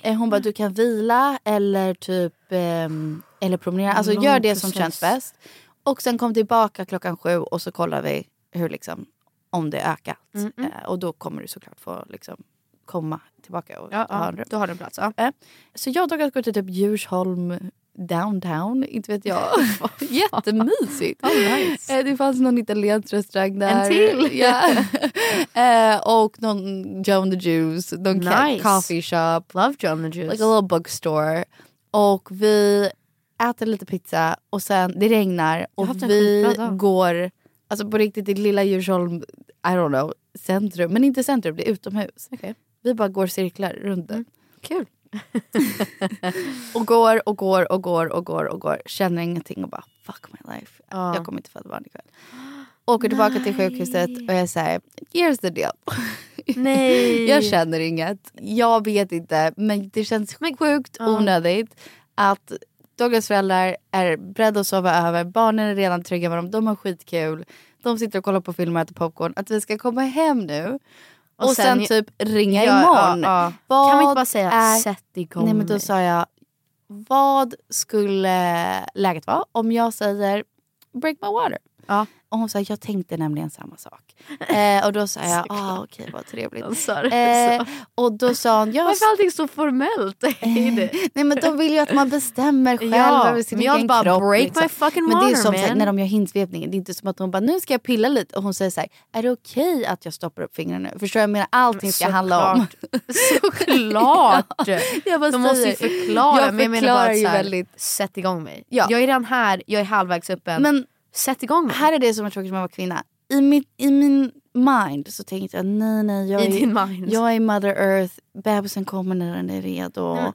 S4: Eh, Hon bara,
S2: Mm.
S4: du kan vila eller typ ehm, eller promenera. Alltså
S2: Lång
S4: gör det som
S2: process.
S4: känns bäst. Och sen kom tillbaka klockan sju och så kollar vi hur liksom om det är ökat.
S2: Mm,
S4: Eh, och då kommer du såklart få liksom komma tillbaka och
S2: ja,
S4: ha
S2: ja,
S4: en rum.
S2: då har du en plats. Ja.
S4: Eh, Så jag och Douglas går till typ Djursholm downtown, inte vet jag. Jättemysigt.
S2: Oh, nice.
S4: Eh, Det fanns någon italiensk restaurang där.
S2: En till?
S4: Ja. Eh, och någon Joan the Juice, någon
S2: Nice.
S4: nice. coffee shop.
S2: Love John the Juice.
S4: Like a little bookstore. Och vi äter lite pizza och sen det regnar
S2: har haft en
S4: och vi
S2: skitbra dag.
S4: går, alltså på riktigt i lilla Djursholm, I don't know, centrum. Men inte centrum, det är utomhus.
S2: Okej. Mm,
S4: Vi bara går cirklar runt det.
S2: Kul.
S4: Och går och går och går och går och går. Känner ingenting och bara fuck my life.
S2: Ja.
S4: Jag kommer inte föda barn ikväll. Åker tillbaka till sjukhuset och jag säger here's the deal.
S2: Nej.
S4: Jag känner inget. Jag vet inte. Men det känns sjukt onödigt att Douglas föräldrar är beredda att sova över. Barnen är redan trygga med dem. De har skitkul. De sitter och kollar på film och äter popcorn. Att vi ska komma hem nu och, sen,
S2: sen-
S4: typ ringa
S2: Ja,
S4: imorgon.
S2: ja, ja.
S4: Vad
S2: Kan vi inte bara säga
S4: är-
S2: sätt igång
S4: Nej men då
S2: mig."
S4: sa jag, vad skulle läget vara om jag säger break my water?
S2: Ja.
S4: Och hon sa, jag tänkte nämligen samma sak. Eh, och då sa jag, ah, okej vad trevligt.
S2: Han sa det
S4: Eh,
S2: så.
S4: och då sa hon, jag...
S2: Varför är allting så formellt? I det?
S4: Nej men de vill ju att man bestämmer själv
S2: Ja,
S4: över sin
S2: men jag
S4: egen
S2: bara,
S4: kropp. liksom."
S2: break my fucking
S4: men det är
S2: water,
S4: som så här,
S2: man.
S4: när de gör hinsvepningen, det är inte som att hon bara nu ska jag pilla lite och hon säger så här, är det okej att jag stoppar upp fingrarna nu? Förstår du? Jag menar allting ska handla om.
S2: Såklart!
S4: Jag bara
S2: De måste ju
S4: säger-
S2: förklara.
S4: Jag
S2: men jag menar bara
S4: förklarar
S2: att,
S4: ju
S2: så här,
S4: väldigt.
S2: Sätt igång mig.
S4: Ja.
S2: Jag är redan här, jag är halvvägs öppen.
S4: Men
S2: Sätt igång mig.
S4: här är det som är tråkigt med att vara kvinna. I, mitt, I min mind så tänkte jag nej nej jag
S2: I
S4: är,
S2: din mind.
S4: jag är mother earth, bebisen kommer när den är redo.
S2: Nej,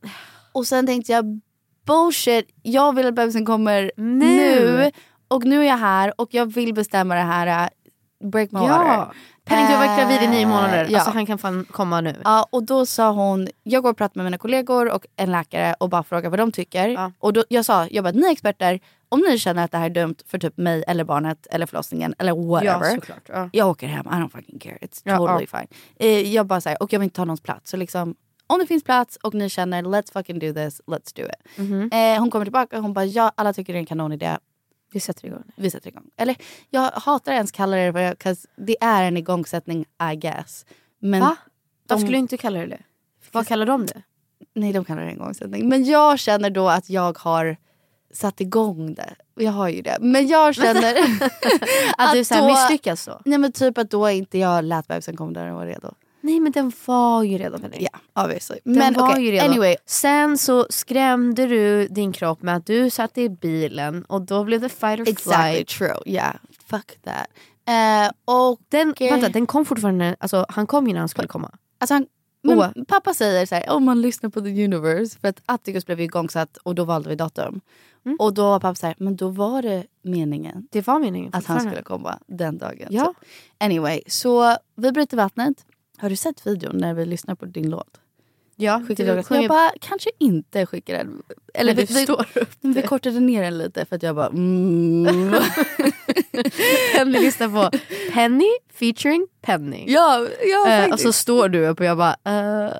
S4: Och sen tänkte jag bullshit, jag vill att bebisen kommer nu.
S2: Nu.
S4: Och nu är jag här och jag vill bestämma det här. äh, Break my water.
S2: ja. Penny du har varit gravid i nio
S4: Eh,
S2: månader.
S4: ja.
S2: Alltså han kan fan komma nu.
S4: Ja, och då sa hon, jag går och pratar med mina kollegor och en läkare och bara frågar vad de tycker.
S2: Ja.
S4: Och då, jag sa, jag bara, ni är experter, om ni känner att det här är dumt för typ mig eller barnet eller förlossningen eller whatever.
S2: såklart. Ja.
S4: jag åker hem, I don't fucking care, it's
S2: Ja,
S4: totally fine. Eh, jag bara säger och jag vill inte ta någons plats. Så liksom, om det finns plats och ni känner let's fucking do this, let's do it.
S2: Mhm.
S4: Eh, hon kommer tillbaka och hon bara, ja alla tycker det är en kanonidé,
S2: Vi sätter igång.
S4: vi sätter igång. Eller jag hatar ens kalla det för det, 'cause det är en igångsättning I guess. Men
S2: Va?
S4: De-
S2: Varför skulle du inte kalla det det? Vad kallar de det?
S4: Nej, de kallar det en igångsättning. Men jag känner då att jag har satt igång det. Jag har ju det. Men jag känner
S2: Att, du så här,
S4: då-
S2: misslyckas så?
S4: Nej men typ att då inte jag lät bebisen komma när den var redo.
S2: Nej men den var ju redan för dig.
S4: Ja, obviously.
S2: Den
S4: Men
S2: var
S4: okej,
S2: ju redan.
S4: anyway.
S2: Sen så skrämde du din kropp med att du satt i bilen och då blev det fight or
S4: Exactly
S2: flight.
S4: true. Yeah, fuck that. Eh, och
S2: Den,
S4: Okej.
S2: Vänta, den kom fortfarande, alltså han kom ju när han skulle komma.
S4: alltså han, men
S2: Åh.
S4: pappa säger så här, om man lyssnar på the universe. För att Atticus blev ju igångsatt och då valde vi datum.
S2: Mm.
S4: Och då var pappa så här, men då var det meningen
S2: Det var meningen
S4: att han
S2: fortfarande.
S4: skulle komma den dagen.
S2: Ja.
S4: Så. Anyway, så vi bryter vattnet. Har du sett videon när vi lyssnar på din låt?
S2: Ja,
S4: Skickade jag,
S2: sjunger-
S4: jag bara, kanske inte skickar den. Eller
S2: Men
S4: vi,
S2: du
S4: vi,
S2: står upp
S4: vi kortade ner den lite för att jag bara... Mm.
S2: Penny lyssnar på Penny featuring Penny.
S4: ja, ja
S2: Eh,
S4: faktiskt.
S2: och så står du upp och jag bara... eh,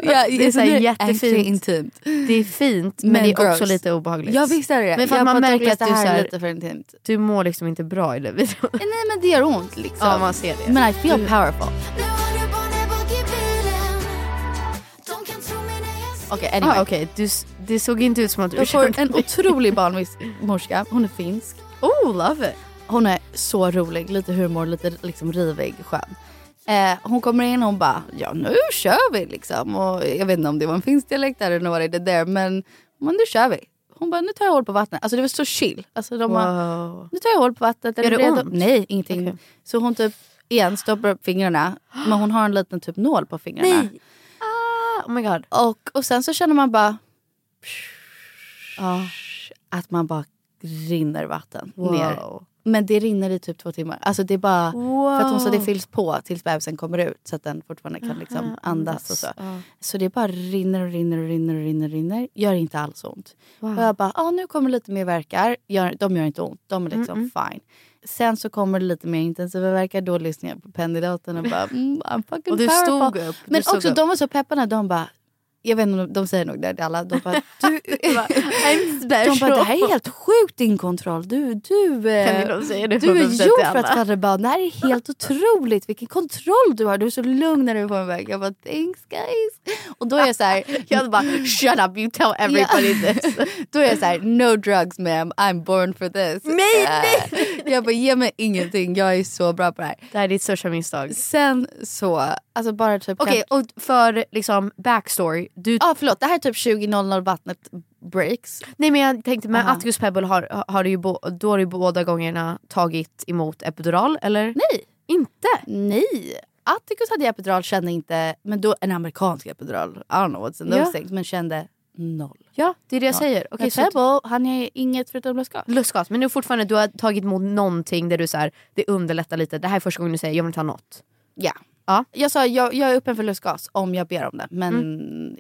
S4: ja,
S2: det är så här
S4: actually
S2: jättefint.
S4: intimt.
S2: Det är fint men,
S4: Men
S2: det är också
S4: gross.
S2: lite obehagligt.
S4: Ja visst är det
S2: Men för att
S4: Jag
S2: man
S4: bara
S2: märker
S4: tycker
S2: att du
S4: det här
S2: så här-
S4: är lite för intimt.
S2: Du mår liksom inte bra i den videon.
S4: Eh, Nej men det gör ont liksom.
S2: Ja, man Mm. ser det.
S4: Men I feel powerful. Okej anyway.
S2: Ah, Okej, du s- det såg inte ut som att du
S4: Jag får
S2: körde
S4: en
S2: bil.
S4: otrolig barnmorska. Hon är finsk.
S2: Oh, love it!
S4: Hon är så rolig, lite humor, lite liksom rivig, skön. Eh, hon kommer in och hon bara, ja nu kör vi liksom. Och jag vet inte om det var en finsk dialekt eller vad det där, men, men nu kör vi. Hon bara, nu tar jag hål på vattnet. Alltså det var så chill. Alltså de bara,
S2: Wow.
S4: nu tar jag hål på vattnet. Är
S2: Gör
S4: du
S2: det
S4: redo?
S2: ont?
S4: Nej, ingenting. Så hon typ igen stoppar upp fingrarna, men hon har en liten typ nål på fingrarna.
S2: Nej. Ah, oh my god.
S4: Och, och sen så känner man bara... Ja, att man bara rinner vatten ner. Men det rinner i typ två timmar. Alltså det är bara... För att hon sa det fylls på tills bebisen kommer ut så att den fortfarande kan liksom andas och så. Så det bara rinner och rinner och rinner och rinner, och rinner. Gör inte alls ont. Och jag bara, ah, nu kommer lite mer verkar. Gör, de gör inte ont, de är
S2: Mm,
S4: liksom fine. Sen så kommer det lite mer intensiva verkar. då lyssnar jag på pendulaten och bara, mm, I'm fucking
S2: Och du
S4: powerful.
S2: stod upp, du
S4: Men
S2: stod
S4: också
S2: upp.
S4: de var så peppade, de bara, jag vet inte, om de- de säger nog det till alla. De bara, du,
S2: I'm
S4: de bara,
S2: special.
S4: det här är helt sjukt din kontroll. Du, du, eh,
S2: Kan vi nog säga det
S4: du är
S2: 100% till
S4: gjord för att
S2: alla."
S4: fatta barn. Det här är helt otroligt. Vilken kontroll du har. Du är så lugn när du får en väg. Jag bara, thanks guys. Och då är jag så här,
S2: Jag hade bara shut up you tell everybody this.
S4: då är jag så här, no drugs ma'am, I'm born for this.
S2: Nej,
S4: Eh, Jag bara, ge mig ingenting. Jag är så bra på det här.
S2: Det här är ditt största misstag.
S4: Sen så, alltså bara typ...
S2: Okej och för liksom backstory. Du,
S4: Ja ah, förlåt, det här är typ 20.00 vattnet breaks.
S2: Nej men jag tänkte med
S4: Aha.
S2: Atticus Pebble har, har du ju bo, då har du ju båda gångerna tagit emot epidural eller?
S4: Nej,
S2: Inte?
S4: nej. Atticus hade epidural, kände inte, men då en amerikansk epidural, I don't know what's in those
S2: Ja.
S4: things, men kände noll.
S2: Ja det är det jag
S4: Ja.
S2: säger. Okej,
S4: men
S2: så att-
S4: Pebble, han är inget förutom lustgas.
S2: Lustgas, men nu fortfarande du har tagit emot någonting där du så här, det underlättar lite. Det här är första gången du säger jag vill inte ha något.
S4: Ja.
S2: Ja.
S4: Jag sa jag, jag är öppen för lustgas om jag ber om det, men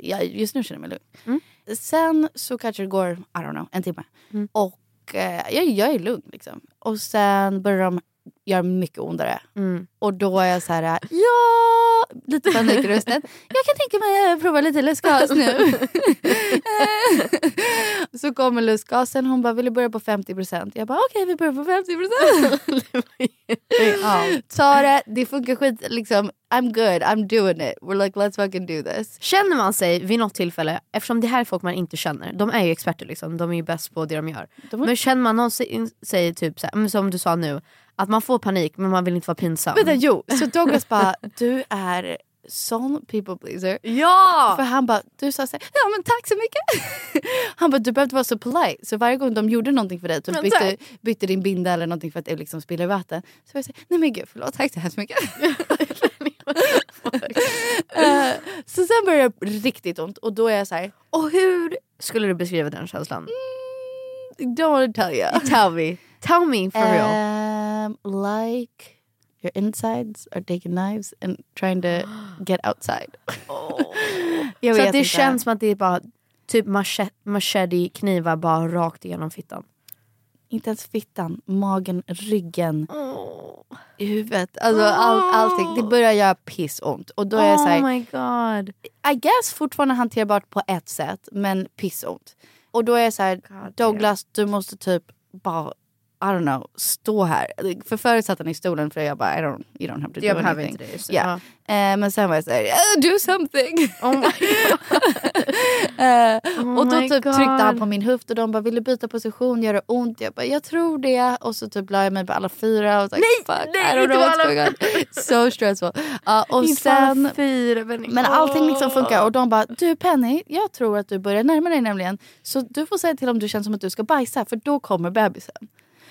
S4: jag, just nu känner jag mig lugn. Sen så kanske det går, Mm. I don't know, en timme. Och eh, jag, jag är lugn liksom. Och sen börjar de gör mycket ondare. Och då är jag så här, ja, lite panik i rösten. Jag kan tänka mig att prova lite lustgas nu. så kommer lustgasen, hon bara, vill du börja på 50%? Jag bara, okej vi börjar på 50%. Ta det, det funkar skit, liksom, I'm good, I'm doing it. We're like, let's fucking do this.
S2: Känner man sig vid något tillfälle, eftersom det här är folk man inte känner, de är ju experter liksom, de är ju bäst på det de gör.
S4: De är-
S2: Men känner man någonsin sig typ så här, men som du sa nu, att man får panik men man vill inte vara pinsam.
S4: Vänta, jo. Så Douglas bara, du är sån people pleaser. För
S2: Ja!
S4: han bara, du sa så här, ja men tack så mycket. Han bara, du behövde vara så polite. Så varje gång de gjorde någonting för dig, typ
S2: Men
S4: bytte,
S2: tack.
S4: bytte din binda eller någonting för att det liksom spiller vatten. Så var jag såhär, nej men gud förlåt, tack så hemskt mycket. Eh, så sen började det riktigt ont och då är jag så här,
S2: Och hur skulle du beskriva den känslan?
S4: don't wanna tell you.
S2: Tell me. Tell me for real.
S4: Um, like your insides are taking knives and trying to get outside. jag
S2: Så
S4: vet
S2: att det
S4: inte.
S2: känns som att det är bara typ machete, machete knivar bara rakt igenom fittan.
S4: Inte ens fittan, magen, ryggen, i huvudet. Alltså all, allting. Det börjar göra pissont. Och då är jag så här,
S2: Oh my god.
S4: I guess fortfarande hanterbart på ett sätt, men pissont. Och då är jag så här, Douglas du måste typ bara, I don't know, stå här. För förut satt han i stolen för jag bara, I don't, you don't have to
S2: Jag
S4: do
S2: behöver
S4: anything.
S2: inte det just nu.
S4: Ja.
S2: Ja.
S4: Eh, men sen var jag såhär, "Eh, do something.
S2: Oh my
S4: Eh,
S2: Oh
S4: och då
S2: my
S4: typ tryckte han
S2: God.
S4: på min höft och de bara, vill du byta position, gör det ont? Jag bara, jag tror det. Och så typ la jag mig på alla fyra och så, nej, fuck,
S2: nej,
S4: I don't
S2: inte
S4: know
S2: på
S4: what's
S2: alla
S4: going on. So stressful. Ja, och sen,
S2: fyra
S4: men allting liksom funkar och de bara, du Penny, jag tror att du börjar närma dig nämligen. Så du får säga till om du känner som att du ska bajsa för då kommer bebisen.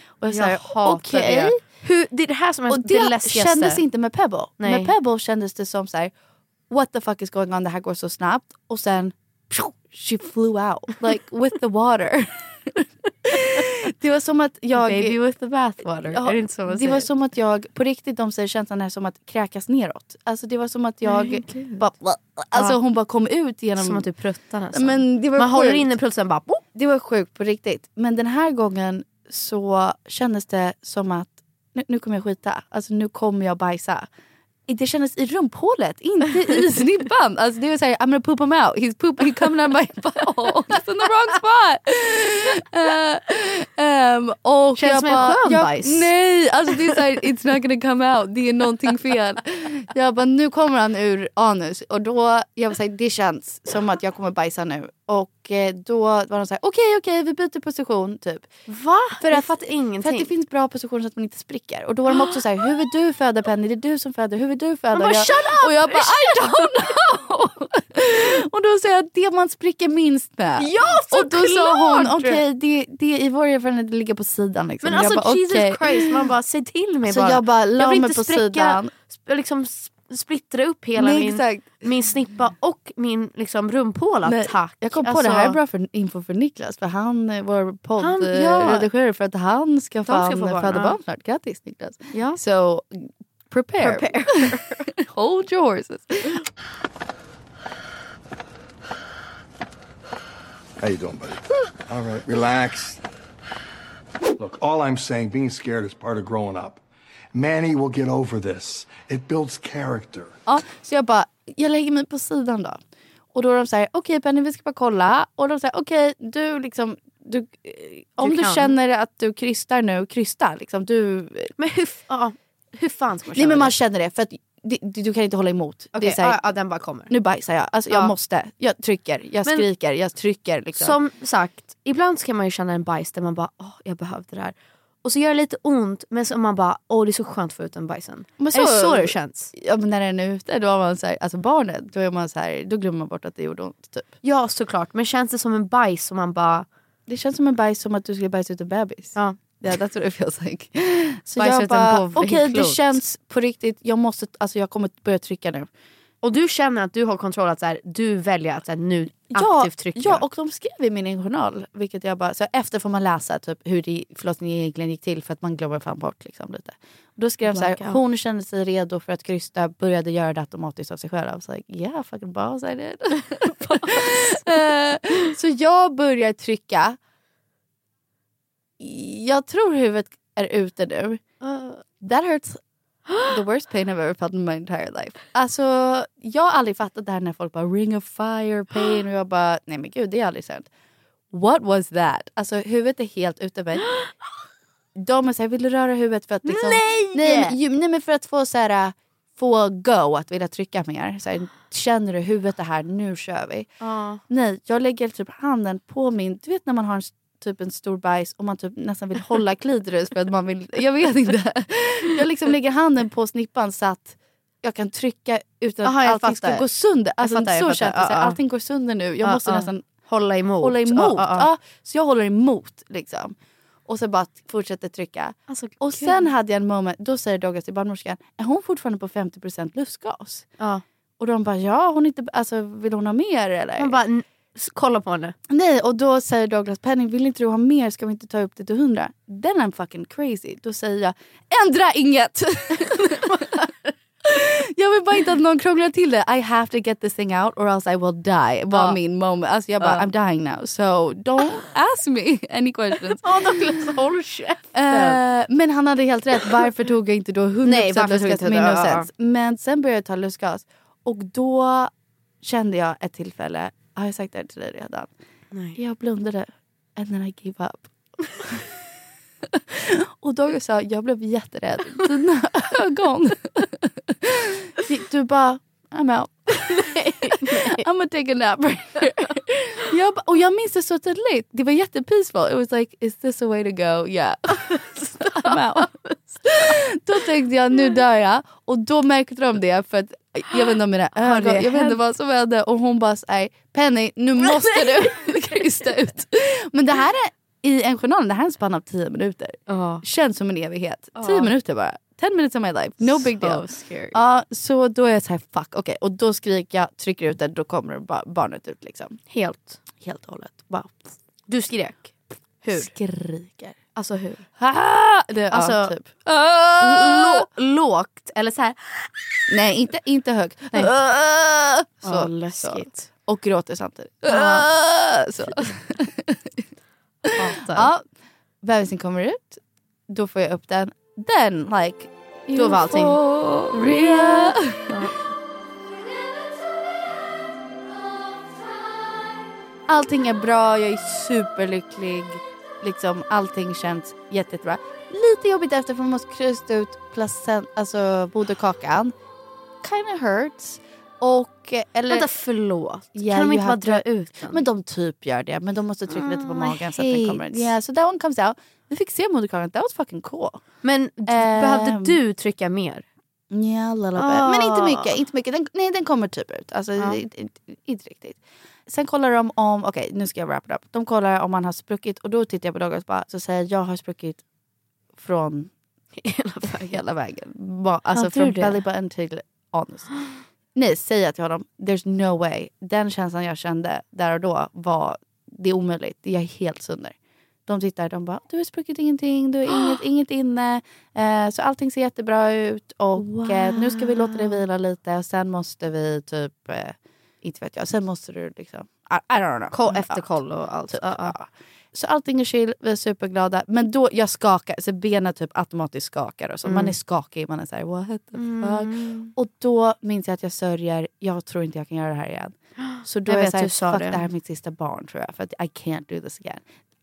S4: Och jag säger
S2: Jag hatar
S4: okej.
S2: det. Hur, det är det här som är
S4: Och
S2: det,
S4: det
S2: läskigaste.
S4: kändes inte med Pebble. Med
S2: Nej.
S4: Pebble kändes det som så här, what the fuck is going on, det här går så snabbt. Och sen, pju, she flew out. Like with the water. det var som att jag...
S2: Baby with the bathwater.
S4: Ja,
S2: är det inte så man
S4: det
S2: säger?
S4: var som att jag, på riktigt de säger känslan är som att kräkas neråt. Alltså det var som att jag, bara, alltså
S2: Ja.
S4: hon bara kom ut genom...
S2: Som att du pruttar nästan.
S4: men det var
S2: man håller
S4: sjukt.
S2: inne prutsen bara... Boop.
S4: Det var sjukt på riktigt. Men den här gången så kändes det som att nu, nu kommer jag skita. Alltså nu kommer jag bajsa. Det kändes i rumphålet, inte i snibban. Alltså det var såhär, I'm gonna poop him out. He's poop, he coming out my butthole. It's in the wrong spot. Eh, ehm, och
S2: Känns
S4: jag
S2: som en
S4: bara,
S2: skön
S4: jag,
S2: bajs.
S4: Nej, alltså det är såhär, it's not gonna come out. Det är någonting fel. Jag bara, nu kommer han ur anus. Och då, jag bara, såhär, det känns som att jag kommer bajsa nu. Och eh, då var de såhär, okej okej vi byter position typ.
S2: Va? För
S4: Jag
S2: jag
S4: fattar
S2: fattar ingenting.
S4: För att det finns bra positioner så att man inte spricker. Och då var de också så här, hur vill du föda Penny? Det är du som föder, hur vill du föda?
S2: bara,
S4: Och jag,
S2: "Shut up!
S4: och jag bara, I don't know! och då sa jag, det man spricker minst med.
S2: Ja,
S4: Och då sa hon,
S2: såklart!
S4: okej det, det är i vår erfarenhet det ligger på sidan. Liksom.
S2: Men
S4: jag
S2: alltså
S4: bara,
S2: Jesus
S4: "Okej."
S2: Christ, man bara säg till mig
S4: Så
S2: bara.
S4: jag bara la
S2: jag vill
S4: mig
S2: inte
S4: på
S2: spräcka,
S4: sidan.
S2: sp- Liksom sp- splittra upp hela
S4: Nej,
S2: min,
S4: exakt.
S2: min snippa och min liksom, rumphåla.
S4: Nej,
S2: Tack.
S4: Jag kom på
S2: Alltså,
S4: det här är bra för, info för Niklas, för han är vår
S2: Han- ja.
S4: poddredigerare för att han ska, fan,
S2: få barn,
S4: föda
S2: ja.
S4: barn snart. Grattis Niklas!
S2: Ja.
S4: So prepare. Hold your horses.
S7: How you doing, buddy? All right, relax. Look, all I'm saying, being scared is part of growing up. Manny will get over this. It builds character.
S4: Ja, så jag bara, jag lägger mig på sidan då. Och då är de såhär, okej Penny vi ska bara kolla. Och de säger okej du liksom, du, eh, om du,
S2: kan.
S4: känner att du krystar nu, krysta. Liksom, du,
S2: Men hur, f- ja, hur fan ska man
S4: nej
S2: känna
S4: men man känner det för att det, det- du kan inte hålla emot.
S2: det?
S4: Det är
S2: Okej,
S4: så här,
S2: ja, ja, den bara kommer.
S4: Nu bajsar jag, alltså, jag
S2: Ja.
S4: måste. Jag trycker, jag
S2: Men-
S4: skriker, jag trycker. Liksom.
S2: Som sagt, ibland så kan man ju känna en bajs där man bara åh jag behövde det här. Och så gör det lite ont men så man bara åh det är så skönt att få ut den bajsen.
S4: Men
S2: är det
S4: så-
S2: så det känns?
S4: ja, men när den är ute, då har man så här, alltså barnet, då, är man så här, då glömmer man bort att det gjorde ont. Typ.
S2: Ja såklart men känns det som en bajs som man bara
S4: Det känns som en bajs som att du skulle bajsa ut en bebis.
S2: ja.
S4: Yeah, that's what it feels like. Så
S2: Bajsa
S4: jag
S2: ut en
S4: bara,
S2: bov-
S4: okej det
S2: klot.
S4: känns på riktigt, jag måste, alltså jag kommer börja trycka nu.
S2: Och du känner att du har kontroll att så här, du väljer att så här, nu aktivt trycka.
S4: ja, och de skrev i min journal, vilket jag bara, så efter får man läsa typ hur det, förlossningen egentligen gick till för att man glömmer fan bort liksom lite. Och då skrev de så här,
S2: Blackout.
S4: hon kände sig redo för att krysta, började göra det automatiskt av sig själv. I was like, yeah fucking boss I did. Eh, så jag börjar trycka. Jag tror huvudet är ute nu. That hurts the worst pain I've ever felt in my entire life. Alltså, jag har aldrig fattat det här när folk bara ring of fire pain och jag bara nej men gud det är aldrig sant. What was that? Alltså huvudet är helt ute mig. De är såhär, vill du röra huvudet för att liksom, nej! Nej, men ju- nej men för att få såhär, få go att vilja trycka mer. Så här, känner du huvudet är här, nu kör vi. Nej, jag lägger typ handen på min... Du vet när man har en, s- typ en stor bajs och man typ nästan vill hålla klitoris för att man vill... Jag vet inte. Jag liksom lägger handen på snippan så att jag kan trycka utan att
S2: Aha, jag
S4: allting ska
S2: fattar.
S4: gå sönder. Alltså,
S2: fattar, jag
S4: så
S2: fattar.
S4: känns det. Så här,
S2: Ja, ja.
S4: Allting går sönder nu. Jag
S2: Ja,
S4: måste
S2: ja.
S4: nästan
S2: Hålla emot.
S4: hålla emot.
S2: Ja, ja, ja.
S4: Ja, så jag håller emot liksom. Och sen bara fortsätter trycka.
S2: Alltså,
S4: och
S2: gud.
S4: sen hade jag en moment, då säger Douglas till barnmorskan, är hon fortfarande på 50% luftgas?
S2: Ja.
S4: Och de bara, ja hon inte, alltså, vill hon ha mer eller?
S2: Man bara, n- s- kolla på henne.
S4: Nej, och då säger Douglas Penning, vill inte du ha mer? Ska vi inte ta upp det till 100? Then I'm fucking crazy. Då säger jag, ändra inget! jag vill bara inte att någon krånglar till det. I have to get this thing out or else I will die. Var
S2: Ja.
S4: min moment. Alltså jag bara,
S2: Ja.
S4: I'm dying now. So don't ask me any questions.
S2: Ja, Douglas håll käften.
S4: Eh, men han hade helt rätt. Varför tog jag inte då 100%
S2: Nej, varför tog jag
S4: lustgas
S2: inte
S4: min
S2: det? Ja,
S4: innocens? Men sen började jag ta lustgas. Och då kände jag ett tillfälle, har jag sagt det här till dig redan?
S2: Nej.
S4: Jag blundade and then I gave up. och Douglas sa, jag blev jätterädd. Dina ögon. Gick Du bara, I'm out. I'm gonna take a nap. jag bara, och jag minns det så tydligt. Det var jättepeaceful. It was like, is this a way to go? Yeah. I'm out. då tänkte jag, nu dör jag. Och då märkte de det. För att, jag vet inte om mina ögon, jag vet inte vad som hände. Och hon bara, så här, Penny nu måste du krysta ut. Men det här är i en journal, det här är en spann av 10 minuter.
S2: Ja.
S4: Känns som en evighet. 10 minuter bara. 10 minutes of my life. No big
S2: So
S4: deal.
S2: scary.
S4: Ja, så då är jag så här, fuck, okej. Och då skriker jag, trycker ut det, då kommer ba- barnet ut liksom.
S2: Helt.
S4: Helt och hållet. Bara
S2: Du skrek. Hur?
S4: skriker.
S2: Alltså hur?
S4: Ah! Det,
S2: Alltså, ah!
S4: ja, typ. Ah!
S2: Lå- lågt eller så här.
S4: Nej, inte, inte högt. Så,
S2: Så
S4: så.
S2: Ah! läskigt. Ah!
S4: Och gråter samtidigt. Så.
S2: Hatar.
S4: Ja. Bebisen kommer ut. Då får jag upp den. Den, like... Då var allting... Rea. Allting är bra, jag är superlycklig. Liksom, allting känns jätte, jättebra. Lite jobbigt efter för man måste krysta ut placent, alltså moderkakan. Kind of hurts. Och... eh, Eller,
S2: Vänta förlåt.
S4: Yeah,
S2: kan de
S4: you
S2: inte bara
S4: have
S2: dra
S4: to-
S2: ut den?
S4: Men de typ gör det. Men de måste trycka lite på
S2: Mm, I
S4: magen så att den
S2: hate-
S4: kommer ut. Yeah, so that one comes out. Vi fick se moderkakan. That was fucking cool.
S2: Men d-
S4: Ehm.
S2: behövde du trycka mer?
S4: Yeah, a little bit.
S2: Ah.
S4: Men inte mycket. Inte mycket. Den, nej, den kommer typ ut. Alltså,
S2: Ja.
S4: inte, inte, inte riktigt. Sen kollar de om... Okej, nu ska jag wrap it up. De kollar om man har spruckit. Och då tittar jag på Douglas och bara, så säger jag, jag har spruckit från hela vägen. hela vägen. Ba, alltså
S2: Hade du
S4: från
S2: det?
S4: belly button till anus. Nej, säger jag till honom, there's no way. Den känslan jag kände där och då var, det är omöjligt. Jag är helt sönder. De tittar, de bara, du har spruckit ingenting, du har inget, inget inne. Eh, så allting ser jättebra ut och eh, nu ska vi låta dig vila lite. Och sen måste vi typ, eh, inte vet jag, sen måste du liksom, I, I don't know.
S2: Koll, efter koll och allt.
S4: Typ.
S2: Ja, ja.
S4: Ja. Så allting är chill, vi är superglada. Men då jag skakar, så benen typ automatiskt skakar. Och så.
S2: Mm.
S4: Man är skakig, man är såhär what the fuck. Och då minns jag att jag sörjer, jag tror inte jag kan göra det här igen. Så då
S2: Jag
S4: är
S2: vet,
S4: jag såhär,
S2: du sa
S4: fuck
S2: det.
S4: det här är mitt sista barn tror jag. För att I can't do this again.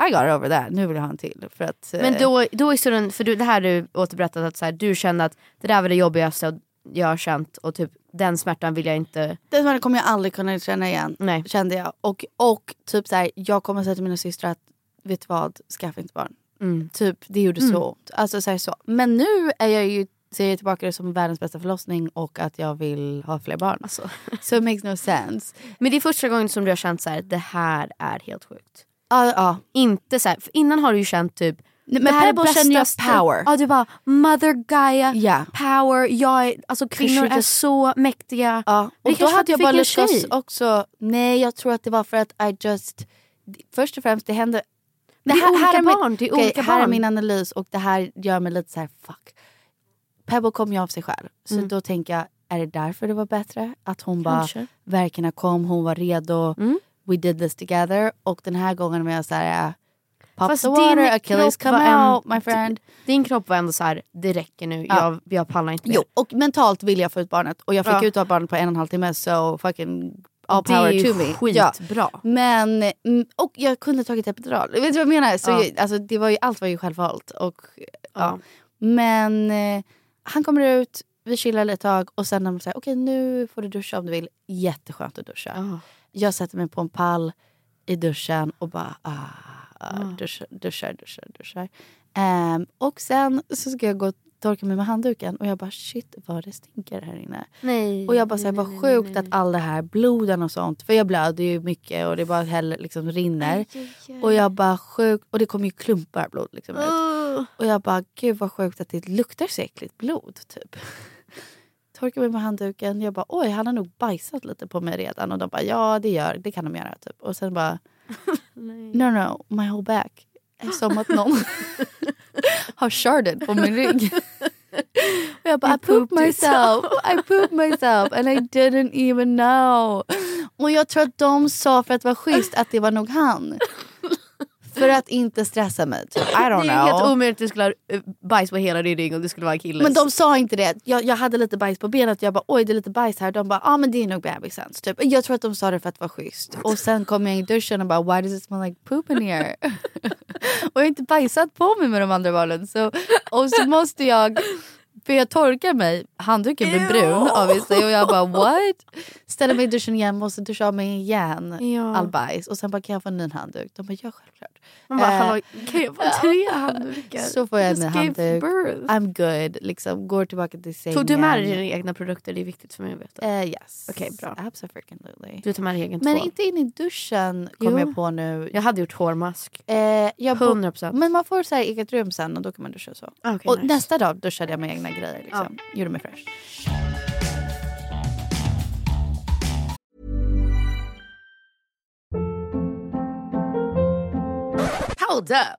S4: I got over that, nu vill jag ha en till. För att, eh,
S2: Men då, då i stunden, för du, det här du återberättat att så här, du kände att det där var det jobbigaste och jag har känt och typ den smärtan vill jag inte.
S4: Den smärtan kommer jag aldrig kunna känna igen.
S2: Nej.
S4: Kände jag. Och, och typ så här, jag kommer säga till mina systrar att vet du vad, skaffa inte barn. Typ, det gjorde så ont. Alltså, så här, så. Men nu är jag ju, ser jag tillbaka det som världens bästa förlossning och att jag vill ha fler barn. So it makes no sense.
S2: Men det är första gången som du har känt så här, det här är helt sjukt.
S4: Ja, ja.
S2: Inte så här, för innan har du ju känt typ
S4: Nej,
S2: det
S4: men
S2: här är
S4: Pebble
S2: bästa
S4: känner jag
S2: st-
S4: power.
S2: Ja du bara mother Gaia,
S4: Ja.
S2: power, jag är, alltså kvinnor är
S4: Precis.
S2: så mäktiga.
S4: Ja,
S2: Det
S4: och då
S2: kanske
S4: hade jag
S2: fick
S4: bara
S2: en
S4: lyckats
S2: tjej.
S4: också. Nej, jag tror att det var för att I just... Först och främst, det hände...
S2: Men det är
S4: här
S2: olika
S4: är min-
S2: barn, det är
S4: Okej,
S2: olika
S4: här är
S2: barn.
S4: min analys och det här gör mig lite så här, fuck. Pebble kom ju av sig själv. Så då tänker jag, är det därför det var bättre? Att hon bara,
S2: Mm. Kanske. Mm.
S4: verkarna kom, hon var redo. We did this together. Och den här gången var jag så här, Pop
S2: Fast
S4: the water,
S2: din
S4: Achilles
S2: kropp
S4: come
S2: var en-
S4: out my friend.
S2: Din kropp var ändå så här: det räcker nu,
S4: Ja.
S2: jag, jag pallar inte mer.
S4: Jo, och mentalt vill jag få ut barnet. Och jag fick
S2: Ja.
S4: ut barnet på en och en halv timme, so fucking all
S2: Det är
S4: power
S2: ju
S4: to me. Ja.
S2: skitbra.
S4: Men, mm, och jag kunde tagit epidural. Vet du vad jag menar? Så
S2: Ja.
S4: jag, alltså, det var ju, allt var ju självvalt. Och, ja.
S2: Ja.
S4: Men eh, han kommer ut, vi chillar ett tag och sen när man säger okej nu får du duscha om du vill. Jätteskönt att duscha. Jag sätter mig på en pall i duschen och bara ah, ah, duschar, duschar, duschar. duschar. Ehm, och sen så ska jag gå och torka mig med handduken och jag bara shit vad det stinker här inne.
S2: Nej.
S4: Och jag bara, så här, vad sjukt att all det här bloden och sånt, för jag blöder ju mycket och det bara häller, liksom rinner. Och jag bara, sjukt, och det kommer ju klumpar blod liksom ut. Och jag bara, gud vad sjukt att det luktar så äckligt blod typ. Torkar mig med handduken, jag bara, oj han har nog bajsat lite på mig redan. Och de bara, ja det gör, det kan de göra typ. Och sen bara, no no, my whole back. är Som att någon har sharded på min rygg. Och jag bara, I pooped myself. I pooped myself and I didn't even know. Och jag tror att de sa för att vara schysst att det var nog han. För att inte stressa mig. Typ. I
S2: Det är
S4: don't
S2: ju helt
S4: know.
S2: omöjligt att du skulle ha eh, bajs på hela din rygg om det skulle vara en kille.
S4: Men de sa inte det. Jag, jag hade lite bajs på benet och jag bara oj det är lite bajs här. De bara ja ah, men det är nog bebisens. Typ. Jag tror att de sa det för att vara schysst. Och sen kom jag in i duschen och bara why does it smell like poop in here? och jag har inte bajsat på mig med de andra barnen. Så, och så måste jag för jag torkar mig, handduken blir brun obviously och jag bara what? Ställer mig i duschen igen, måste duscha av mig igen
S2: Ja.
S4: all bajs och sen bara kan jag få en ny handduk? De bara ja självklart.
S2: Man bara,
S4: Eh,
S2: hallå, kan jag få tre handdukar?
S4: så får jag en
S2: Just
S4: ny
S2: gave
S4: handduk.
S2: birth.
S4: I'm good, liksom går tillbaka till sängen.
S2: Tog du med dig dina egna produkter? Det är viktigt för mig att veta.
S4: Eh, yes.
S2: Okej, bra.
S4: Absolutely.
S2: Du tar med dig egen
S4: Men
S2: tvål.
S4: inte in i duschen kom
S2: Jo.
S4: jag på nu.
S2: Jag hade gjort hårmask.
S4: Eh, jag bo-
S2: 100%.
S4: Men man får så här eget rum sen och då kan man duscha och så.
S2: Ah, Okej,
S4: och
S2: nice.
S4: nästa dag duschade jag med egna grejer. Liksom. Gjorde mig fresh.
S8: Hold up.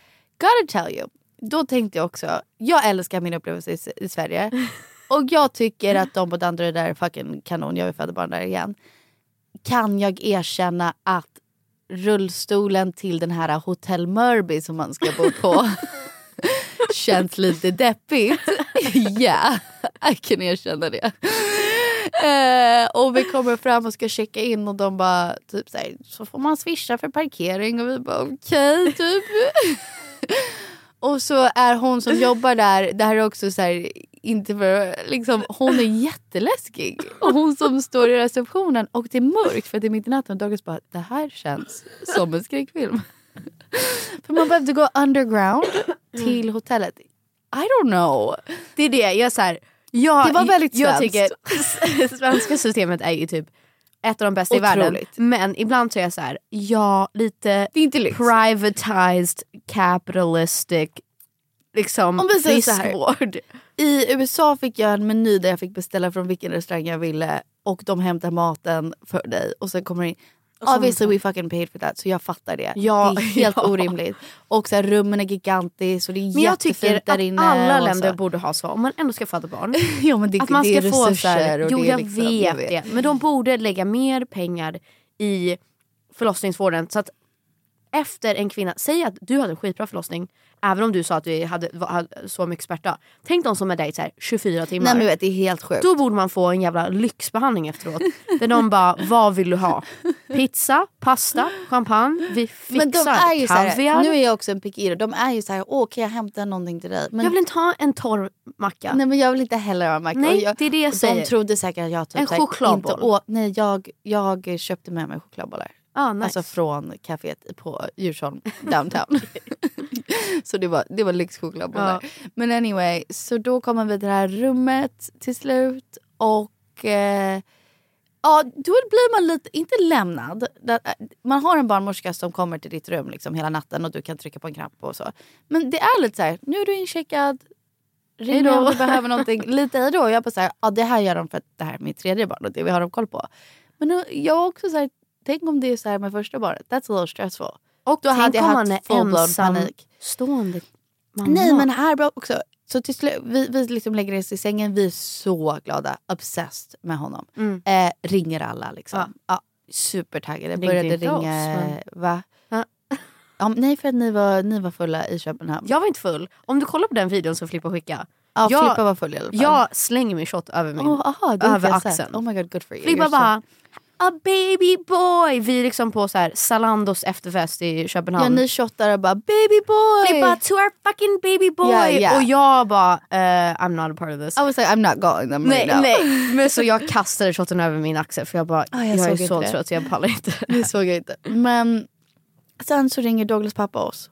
S4: Gotta tell you. Då tänkte jag också, jag älskar min upplevelse i, S- i Sverige. Och jag tycker att de på Danderyd är fucking kanon, jag vill föda barn där igen. Kan jag erkänna att rullstolen till den här Hotell Mörby som man ska bo på känns lite deppigt. Ja, yeah, I can erkänna det. Eh, och vi kommer fram och ska checka in och de bara typ så, här, så får man swisha för parkering och vi bara okej typ. och så är hon som jobbar där, det här är också så här, inte för, liksom, hon är jätteläskig. Och hon som står i receptionen och det är mörkt för det är mitt i natten och Douglas bara det här känns som en skräckfilm. för man behövde gå underground till hotellet. I don't know.
S2: Det är det, jag så här, jag,
S4: Det var väldigt
S2: jag
S4: svenskt.
S2: tycker svenska systemet är ju typ ett av de bästa i världen.
S4: Otroligt.
S2: Men ibland så är jag så här, ja lite det är inte privatized capitalistic liksom
S4: Om vi säger så här.
S2: friskvård.
S4: I USA fick jag en meny där jag fick beställa från vilken restaurang jag ville och de hämtar maten för dig och sen kommer det in. Obviously we fucking paid for that så jag fattar det.
S2: Ja,
S4: det är helt
S2: ja.
S4: orimligt. Och så här, rummen är gigantiska och det är
S2: Men jag
S4: jättefint
S2: tycker
S4: där
S2: att
S4: inne.
S2: alla
S4: och så.
S2: länder borde ha så om man ändå ska föda barn.
S4: ja, men det,
S2: att man
S4: det är
S2: ska få så här,
S4: resurser och
S2: jo
S4: det är
S2: jag,
S4: liksom-
S2: vet det,
S4: jag
S2: men de borde lägga mer pengar i förlossningsvården så att efter en kvinna, säg att du hade en skitbra förlossning även om du sa att du hade, var- hade så mycket smärta. Tänk de som är där i så här 24 timmar.
S4: Nej men vet, det är helt sjukt.
S2: Då borde man få en jävla lyxbehandling efteråt. där de bara, vad vill du ha? Pizza, pasta, champagne, vi fixar
S4: men de är ju så
S2: kaviar.
S4: här, nu är jag också en pick de är ju så här, åh kan jag hämta någonting till dig? Men
S2: Jag vill inte ha en torr macka.
S4: Nej men jag vill inte heller ha en macka.
S2: Nej,
S4: Och jag,
S2: det är det jag
S4: de
S2: säger.
S4: trodde säkert att jag typ
S2: En
S4: så här
S2: chokladboll.
S4: Inte åt, nej jag, jag köpte med mig chokladbollar.
S2: Ah, nice.
S4: Alltså från kaféet på Djursholm downtown. så det var, det var lyxchokladbollar. Men anyway, så då kommer vi till det här rummet till slut. Och eh, ja, då blir man lite, inte lämnad. Där- eh, Man har en barnmorska som kommer till ditt rum liksom hela natten och du kan trycka på en knapp och så. Men det är lite så här, nu är du incheckad, Ring mig om du behöver någonting. Lite hej då. Jag bara såhär, ja det här gör de för att det här är mitt tredje barn och det har de koll på. Men nu, jag har också såhär, tänk om det är såhär med första barnet. That's a little stressful.
S2: Och
S4: då hade jag haft full-blown panik.
S2: ensamstående mamma.
S4: Nej men här bra också. Så till slut, vi, vi liksom lägger oss i sängen, vi är så glada, obsessed med honom.
S2: Mm.
S4: Eh, ringer alla liksom. Ja. supertaggade.
S2: Ringde
S4: Började
S2: inte
S4: ringa,
S2: oss, men-
S4: va? Ja, men nej för att ni var, ni var fulla i Köpenhamn.
S2: Jag var inte full. Om du kollar på den videon som Flippa skicka.
S4: Ja,
S2: jag,
S4: Filippa var full i alla fall.
S2: Jag slänger min shot över min.
S4: Oh, aha, det har inte
S2: över
S4: jag sett.
S2: axeln.
S4: Oh my god, good for you.
S2: Flippa
S4: You're so-
S2: bara, a baby boy. Vi är liksom på så här Zalandos efterfest i Köpenhamn.
S4: Ja, ni shottar och bara baby boy!
S2: Flippa to our fucking baby boy.
S4: Ja, ja. Oh,
S2: Och jag bara, eh, I'm not a part of this.
S4: I was like I'm not going them
S2: Nej,
S4: right now.
S2: nej. Men så jag kastade shotten över min axel för jag bara,
S4: Ah, jag
S2: jag,
S4: såg
S2: är
S4: inte
S2: så
S4: det.
S2: trött jag pallar inte.
S4: Det såg jag inte. Men sen så ringer Douglas pappa oss.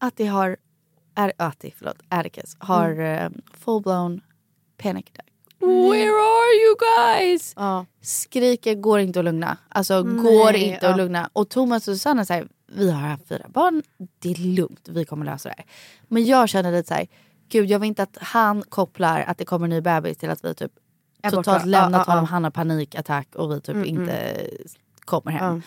S4: Atti har, är, Atti, förlåt, Atticus har eh, full-blown panic attack. Where are you guys?
S2: Ja.
S4: Skriker, går inte att lugna. Alltså går
S2: Nej,
S4: inte
S2: ja.
S4: att lugna. Och Thomas och Susanna säger, vi har haft fyra barn, det är lugnt, vi kommer lösa det här. Men jag känner lite så här, gud jag vill inte att han kopplar att det kommer en ny bebis till att vi typ
S2: Är borta.
S4: totalt lämnat
S2: Ja, ja,
S4: honom,
S2: ja.
S4: han har panikattack och vi typ inte kommer hem.
S2: Ja.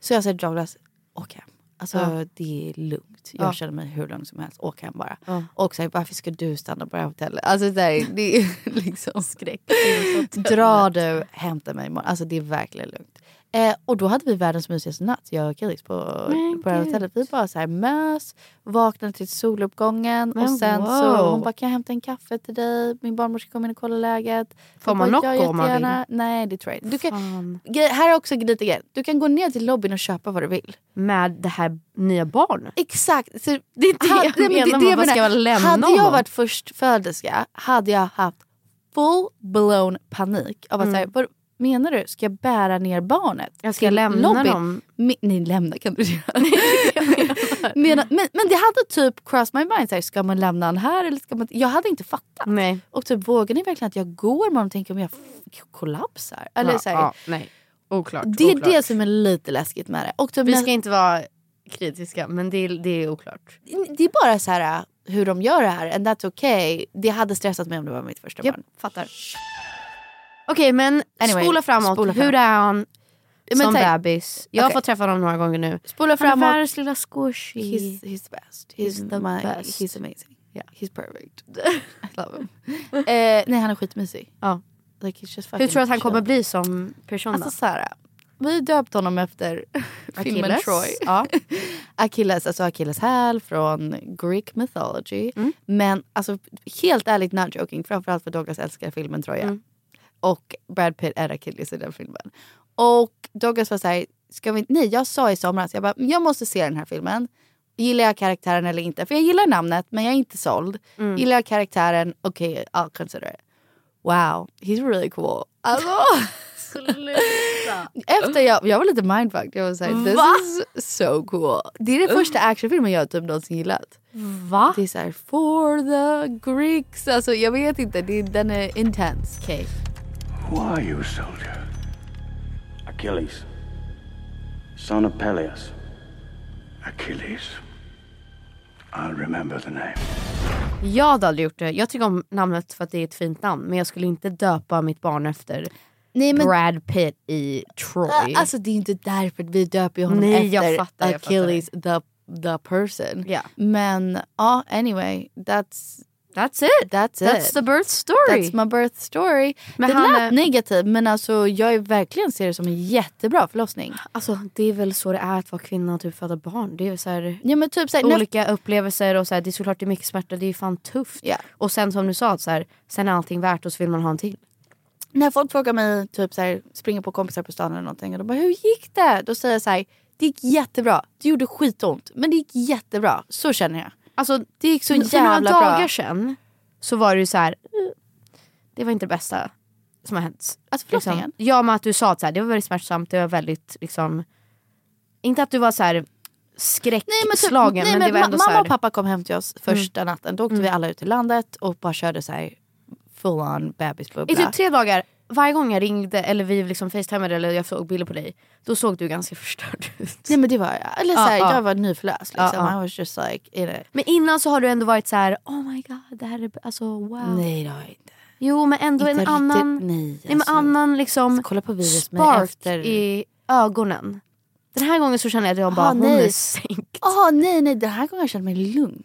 S4: Så jag säger till Douglas, åk hem. Alltså
S2: Ja.
S4: det är lugnt. Jag
S2: Ja.
S4: känner mig hur lugn som helst. Åk hem bara.
S2: Ja.
S4: Och så här, varför ska du stanna på det här hotellet? Alltså det, här, det är liksom...
S2: Skräck.
S4: Dra du, hämta mig imorgon. Alltså det är verkligen lugnt. Eh, och då hade vi världens mysigaste natt, jag och Felix på,
S2: Men
S4: på det här
S2: gud.
S4: hotellet. Vi bara så här mös, vaknade till soluppgången och
S2: Men
S4: sen så
S2: wow.
S4: hon bara kan jag hämta en kaffe till dig? Min barnmorska kom in och kollade läget.
S2: Får
S4: Jag
S2: man
S4: bara, "Ja,
S2: Nocco om man vill?"
S4: jättegärna. Nej det tror jag inte. Du kan,
S2: Fan.
S4: Grej- här är också lite grejer. Du kan gå ner till lobbyn och köpa vad du vill.
S2: Med det här nya barnet.
S4: Exakt. Så
S2: Det är det jag
S4: men
S2: menar, man bara ska väl lämna
S4: Hade jag
S2: honom.
S4: varit förstföderska hade jag haft full-blown panik. Av att
S2: Mm.
S4: så här, vad menar du? Ska jag bära ner barnet?
S2: Jag ska
S4: till
S2: lämna
S4: lobbyn?
S2: dem.
S4: Me- nej, lämna kan du inte göra. Medan, men, men det hade typ crossed my mind. Så här, ska man lämna han här eller ska man Jag hade inte fattat.
S2: Nej.
S4: Och typ, vågar ni verkligen att jag går med honom? Tänker om jag f- kollapsar? Eller,
S2: Ja,
S4: så här,
S2: ja, nej. Oklart.
S4: Det är
S2: oklart.
S4: det som är lite läskigt med det. Och typ,
S2: Vi
S4: nä-
S2: ska inte vara kritiska men det är, det är oklart.
S4: det är bara så här äh, hur de gör det här. And that's okay. Det hade stressat mig om det var mitt första
S2: Japp,
S4: barn.
S2: fattar. Okej men
S4: Anyway,
S2: spola framåt.
S4: spola
S2: Hur
S4: framåt.
S2: är han?
S4: Men
S2: som
S4: tänk-
S2: bebis. Jag har
S4: Okej.
S2: fått träffa honom några gånger nu.
S4: Spola framåt.
S2: Han är världens lilla squishy.
S4: He's, he's best. He's,
S2: He's the
S4: my,
S2: best.
S4: He's amazing.
S2: Yeah.
S4: He's perfect. I love him. eh, nej han är skitmysig.
S2: Ja.
S4: Like, he's just
S2: Hur tror du att han
S4: fucking
S2: kommer
S4: chill.
S2: bli som person
S4: Alltså
S2: då?
S4: såhär, vi döpte honom efter filmen
S2: Achilles.
S4: Troy.
S2: Ja.
S4: Achilles, alltså Achilles häl från Greek mythology.
S2: Mm.
S4: Men alltså helt ärligt, not joking, framförallt för Douglas älskar filmen Troja.
S2: Mm.
S4: Och Brad Pitt är Achilles i den filmen. Och Douglas var såhär, ska vi Nej, jag sa i somras, jag bara, "Men jag måste se den här filmen. Gillar jag karaktären eller inte? För jag gillar namnet men jag är inte såld.
S2: Mm.
S4: Gillar jag karaktären, okej, I'll consider it. Wow, he's really cool. Alltså, efter jag, jag var lite mindfucked. Jag var såhär, this
S2: Mm. Va? Mm.
S4: is so cool. Det är den första actionfilmen jag typ någonsin gillat.
S2: Va?
S4: Det är såhär, for the Greeks. Alltså jag vet inte, det, den är intense. Okay.
S9: Who are you, soldier? Achilles, son of Peleus. Achilles. I'll remember the name.
S2: Jag hade aldrig gjort det. Jag tycker om namnet för att det är ett fint namn. Men jag skulle inte döpa mitt barn efter
S4: Nej, men-
S2: Brad Pitt i Troy.
S4: Alltså det är inte därför vi döper ju honom
S2: Nej,
S4: efter
S2: jag fattar, jag fattar
S4: Achilles the, the person. Men ja, anyway, that's
S2: That's it.
S4: That's,
S2: That's
S4: it.
S2: the birth story.
S4: That's my birth story.
S2: Men
S4: det
S2: han
S4: lät
S2: är-
S4: negativt men alltså jag är verkligen ser det som en jättebra förlossning.
S2: Alltså det är väl så det är att vara kvinna och typ föda barn. Det är ju så här,
S4: ja, men typ så här, när-
S2: olika upplevelser och så här, det är såklart det är mycket smärta. Det är ju fan tufft. Och sen som du sa, att så här, sen är allting värt och så vill man ha en till.
S4: När folk frågar mig, typ så här, springer på kompisar på stan eller någonting och de bara hur gick det? Då säger jag så här, det gick jättebra. Det gjorde skitont men det gick jättebra. Så känner jag.
S2: Alltså
S4: det gick så
S2: För
S4: jävla
S2: några
S4: bra.
S2: dagar sedan så var det ju så här. "Eh, Det var inte det bästa som har hänt.
S4: Alltså
S2: liksom,
S4: förlossningen?
S2: Ja men att du sa att så här, det var väldigt smärtsamt, det var väldigt liksom. Inte att du var så här skräckslagen men,
S4: typ, nej,
S2: det var
S4: ma-
S2: ändå så
S4: Mamma
S2: här.
S4: och pappa kom hem till oss första natten. Då åkte vi alla ut till landet och bara körde så här full on bebisbubbla.
S2: I typ tre dagar, varje gång jag ringde eller vi liksom facetimade eller jag såg bilder på dig. Då såg du ganska förstörd ut.
S4: Nej men det var jag. Eller så
S2: Ja,
S4: här,
S2: ja.
S4: jag var nyförlöst liksom.
S2: Ja, ja.
S4: I was just like in it.
S2: Men innan så har du ändå varit så här, oh my god det här är, alltså wow.
S4: Nej det har jag inte.
S2: Jo men ändå
S4: Inte
S2: en
S4: riktigt,
S2: annan,
S4: nej,
S2: men
S4: alltså.
S2: annan liksom
S4: kolla på virus med
S2: spark
S4: efter-
S2: i ögonen. Den här gången så känner jag att jag bara,
S4: Ah,
S2: hon
S4: nej.
S2: är sänkt.
S4: Ah, nej nej, den här gången jag känner mig lugn.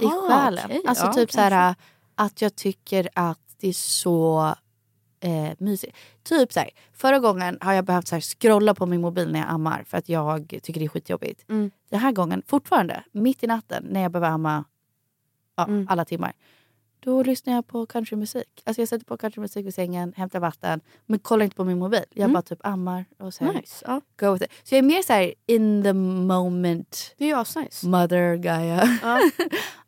S4: I själen.
S2: Ah, okej,
S4: alltså
S2: ja,
S4: typ så här att jag tycker att det är så eh, mysigt. Typ så här, förra gången har jag behövt så här, scrolla på min mobil när jag ammar för att jag tycker det är skitjobbigt.
S2: Mm.
S4: Den här gången, fortfarande, mitt i natten när jag behöver amma ja,
S2: Mm.
S4: alla timmar. Då lyssnar jag på countrymusik. Alltså jag sätter på countrymusik vid sängen, hämtar vatten men kollar inte på min mobil. Jag bara typ ammar och så här,
S2: Mm. Nice, ja.
S4: go with it. Så jag är mer så här in the moment
S2: Det är asnice.
S4: mother Gaia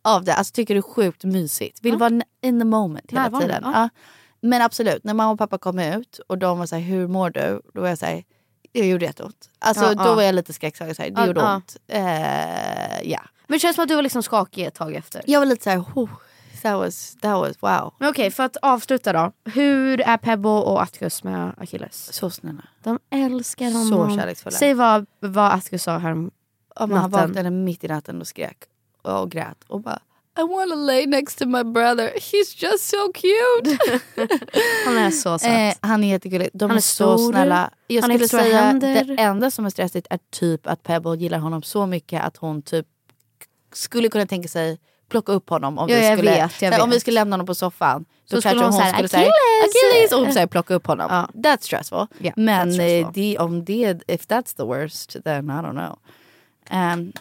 S4: av det. Alltså tycker det är sjukt mysigt. Vill vara in the moment hela
S2: Närvarande,
S4: tiden.
S2: ja.
S4: Ja. Men absolut, när mamma och pappa kom ut och de var så här, hur mår du? Då var jag så här, det gjorde jätteont. Alltså
S2: Ja,
S4: då
S2: ja.
S4: var jag lite skräckslagen, så här, det
S2: Ja,
S4: gjorde
S2: ja.
S4: ont. Eh, ja.
S2: Men det känns som att du var liksom skakig ett tag efter.
S4: Jag var lite så här, oh, that, was, that was wow.
S2: Men okej, för att avsluta då. Hur är Pebbo och Atticus med Achilles?
S4: Så snälla.
S2: De älskar honom.
S4: Så kärleksfulla.
S2: Säg vad, vad Atticus sa här om
S4: Om han
S2: Natten.
S4: vaknade mitt i natten och skrek och grät och bara I wanna lay next to my brother, he's just so cute.
S2: Han är så söt.
S4: Eh, han är jättegullig. De
S2: Han
S4: är,
S2: är
S4: så
S2: stor.
S4: snälla. Jag
S2: Han har
S4: skulle
S2: stora
S4: säga
S2: händer.
S4: det enda som är stressigt är typ att Pebble gillar honom så mycket att hon typ skulle kunna tänka sig plocka upp honom om,
S2: Ja,
S4: vi,
S2: jag
S4: skulle,
S2: vet, jag
S4: så här, om
S2: vet.
S4: vi skulle lämna honom på soffan.
S2: Så
S4: Då
S2: skulle
S4: kanske
S2: hon
S4: hon,
S2: så här,
S4: skulle säga
S2: "Achilles!"
S4: Achilles och så här, plocka upp honom.
S2: Ja.
S4: That's stressful.
S2: Ja,
S4: Men
S2: that's
S4: eh,
S2: stressful.
S4: Det, om det, if that's the worst then I don't know. Um,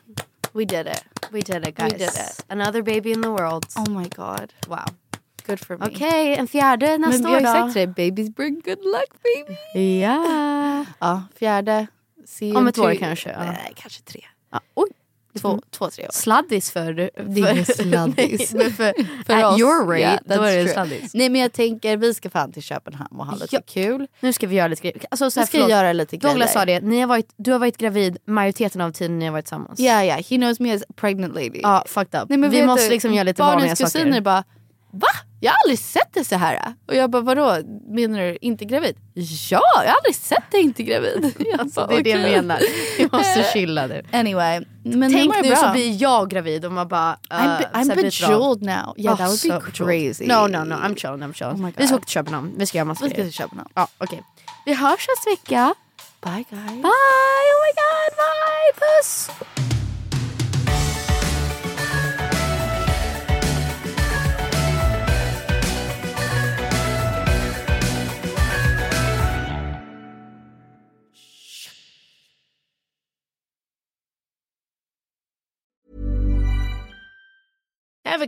S4: we did it.
S2: We did it
S4: We
S2: guys.
S4: did it.
S2: Another baby in the world.
S4: Oh my god.
S2: Wow.
S4: Good for me.
S2: Okej, en fjärde
S4: Men
S2: nästa
S4: vi har
S2: år
S4: ju
S2: då.
S4: sagt till dig, babies bring good luck baby.
S2: Ja.
S4: Ja, fjärde. See you
S2: Om
S4: in
S2: ett år
S4: two-
S2: kanske, ja.
S4: Nej, kanske tre.
S2: Ja, Ah, Oj.
S4: Två, två tre år.
S2: Sladdis för... Det
S4: är ingen sladdis.
S2: men för,
S4: För
S2: at
S4: oss,
S2: your rate,
S4: yeah,
S2: då
S4: that's
S2: är det
S4: true.
S2: sladdis.
S4: Nej men jag tänker vi ska fan till Köpenhamn och ha lite
S2: Ja.
S4: kul.
S2: Nu ska vi göra lite grejer. Alltså, så
S4: Vi
S2: här,
S4: ska
S2: förlåt.
S4: göra lite
S2: Douglas sa
S4: grejer.
S2: det, ni har varit, du har varit gravid majoriteten av tiden ni har varit tillsammans.
S4: Ja yeah, ja, yeah. he knows me as a pregnant lady.
S2: Ja, fucked up.
S4: Nej, men
S2: vi
S4: vet
S2: måste
S4: du,
S2: liksom göra lite
S4: barnens
S2: vanliga
S4: kusiner
S2: saker.
S4: bara va? Jag har aldrig sett dig så här. Och jag bara vadå menar du inte gravid? Ja, jag har aldrig sett dig inte gravid. Jag
S2: Alltså,
S4: bara,
S2: det är det jag
S4: "Okej."
S2: menar. Vi måste chilla nu.
S4: Anyway, men
S2: Tänk
S4: mår jag
S2: nu
S4: bra.
S2: så blir jag gravid och man bara... Uh,
S4: I'm, be- I'm bejeweled now. Yeah, that would be crazy.
S2: Oh, No, no, no. I'm chilling, I'm chilling.
S4: Oh my
S2: vi ska
S4: God.
S2: åka till Köpenhamn. Vi ska göra massa
S4: Vi ska
S2: grejer.
S4: till Köpenhamn.
S2: Ja, okej. Vi hörs nästa vecka.
S10: Bye guys.
S4: Bye! Oh my god, bye! Puss!
S8: Ever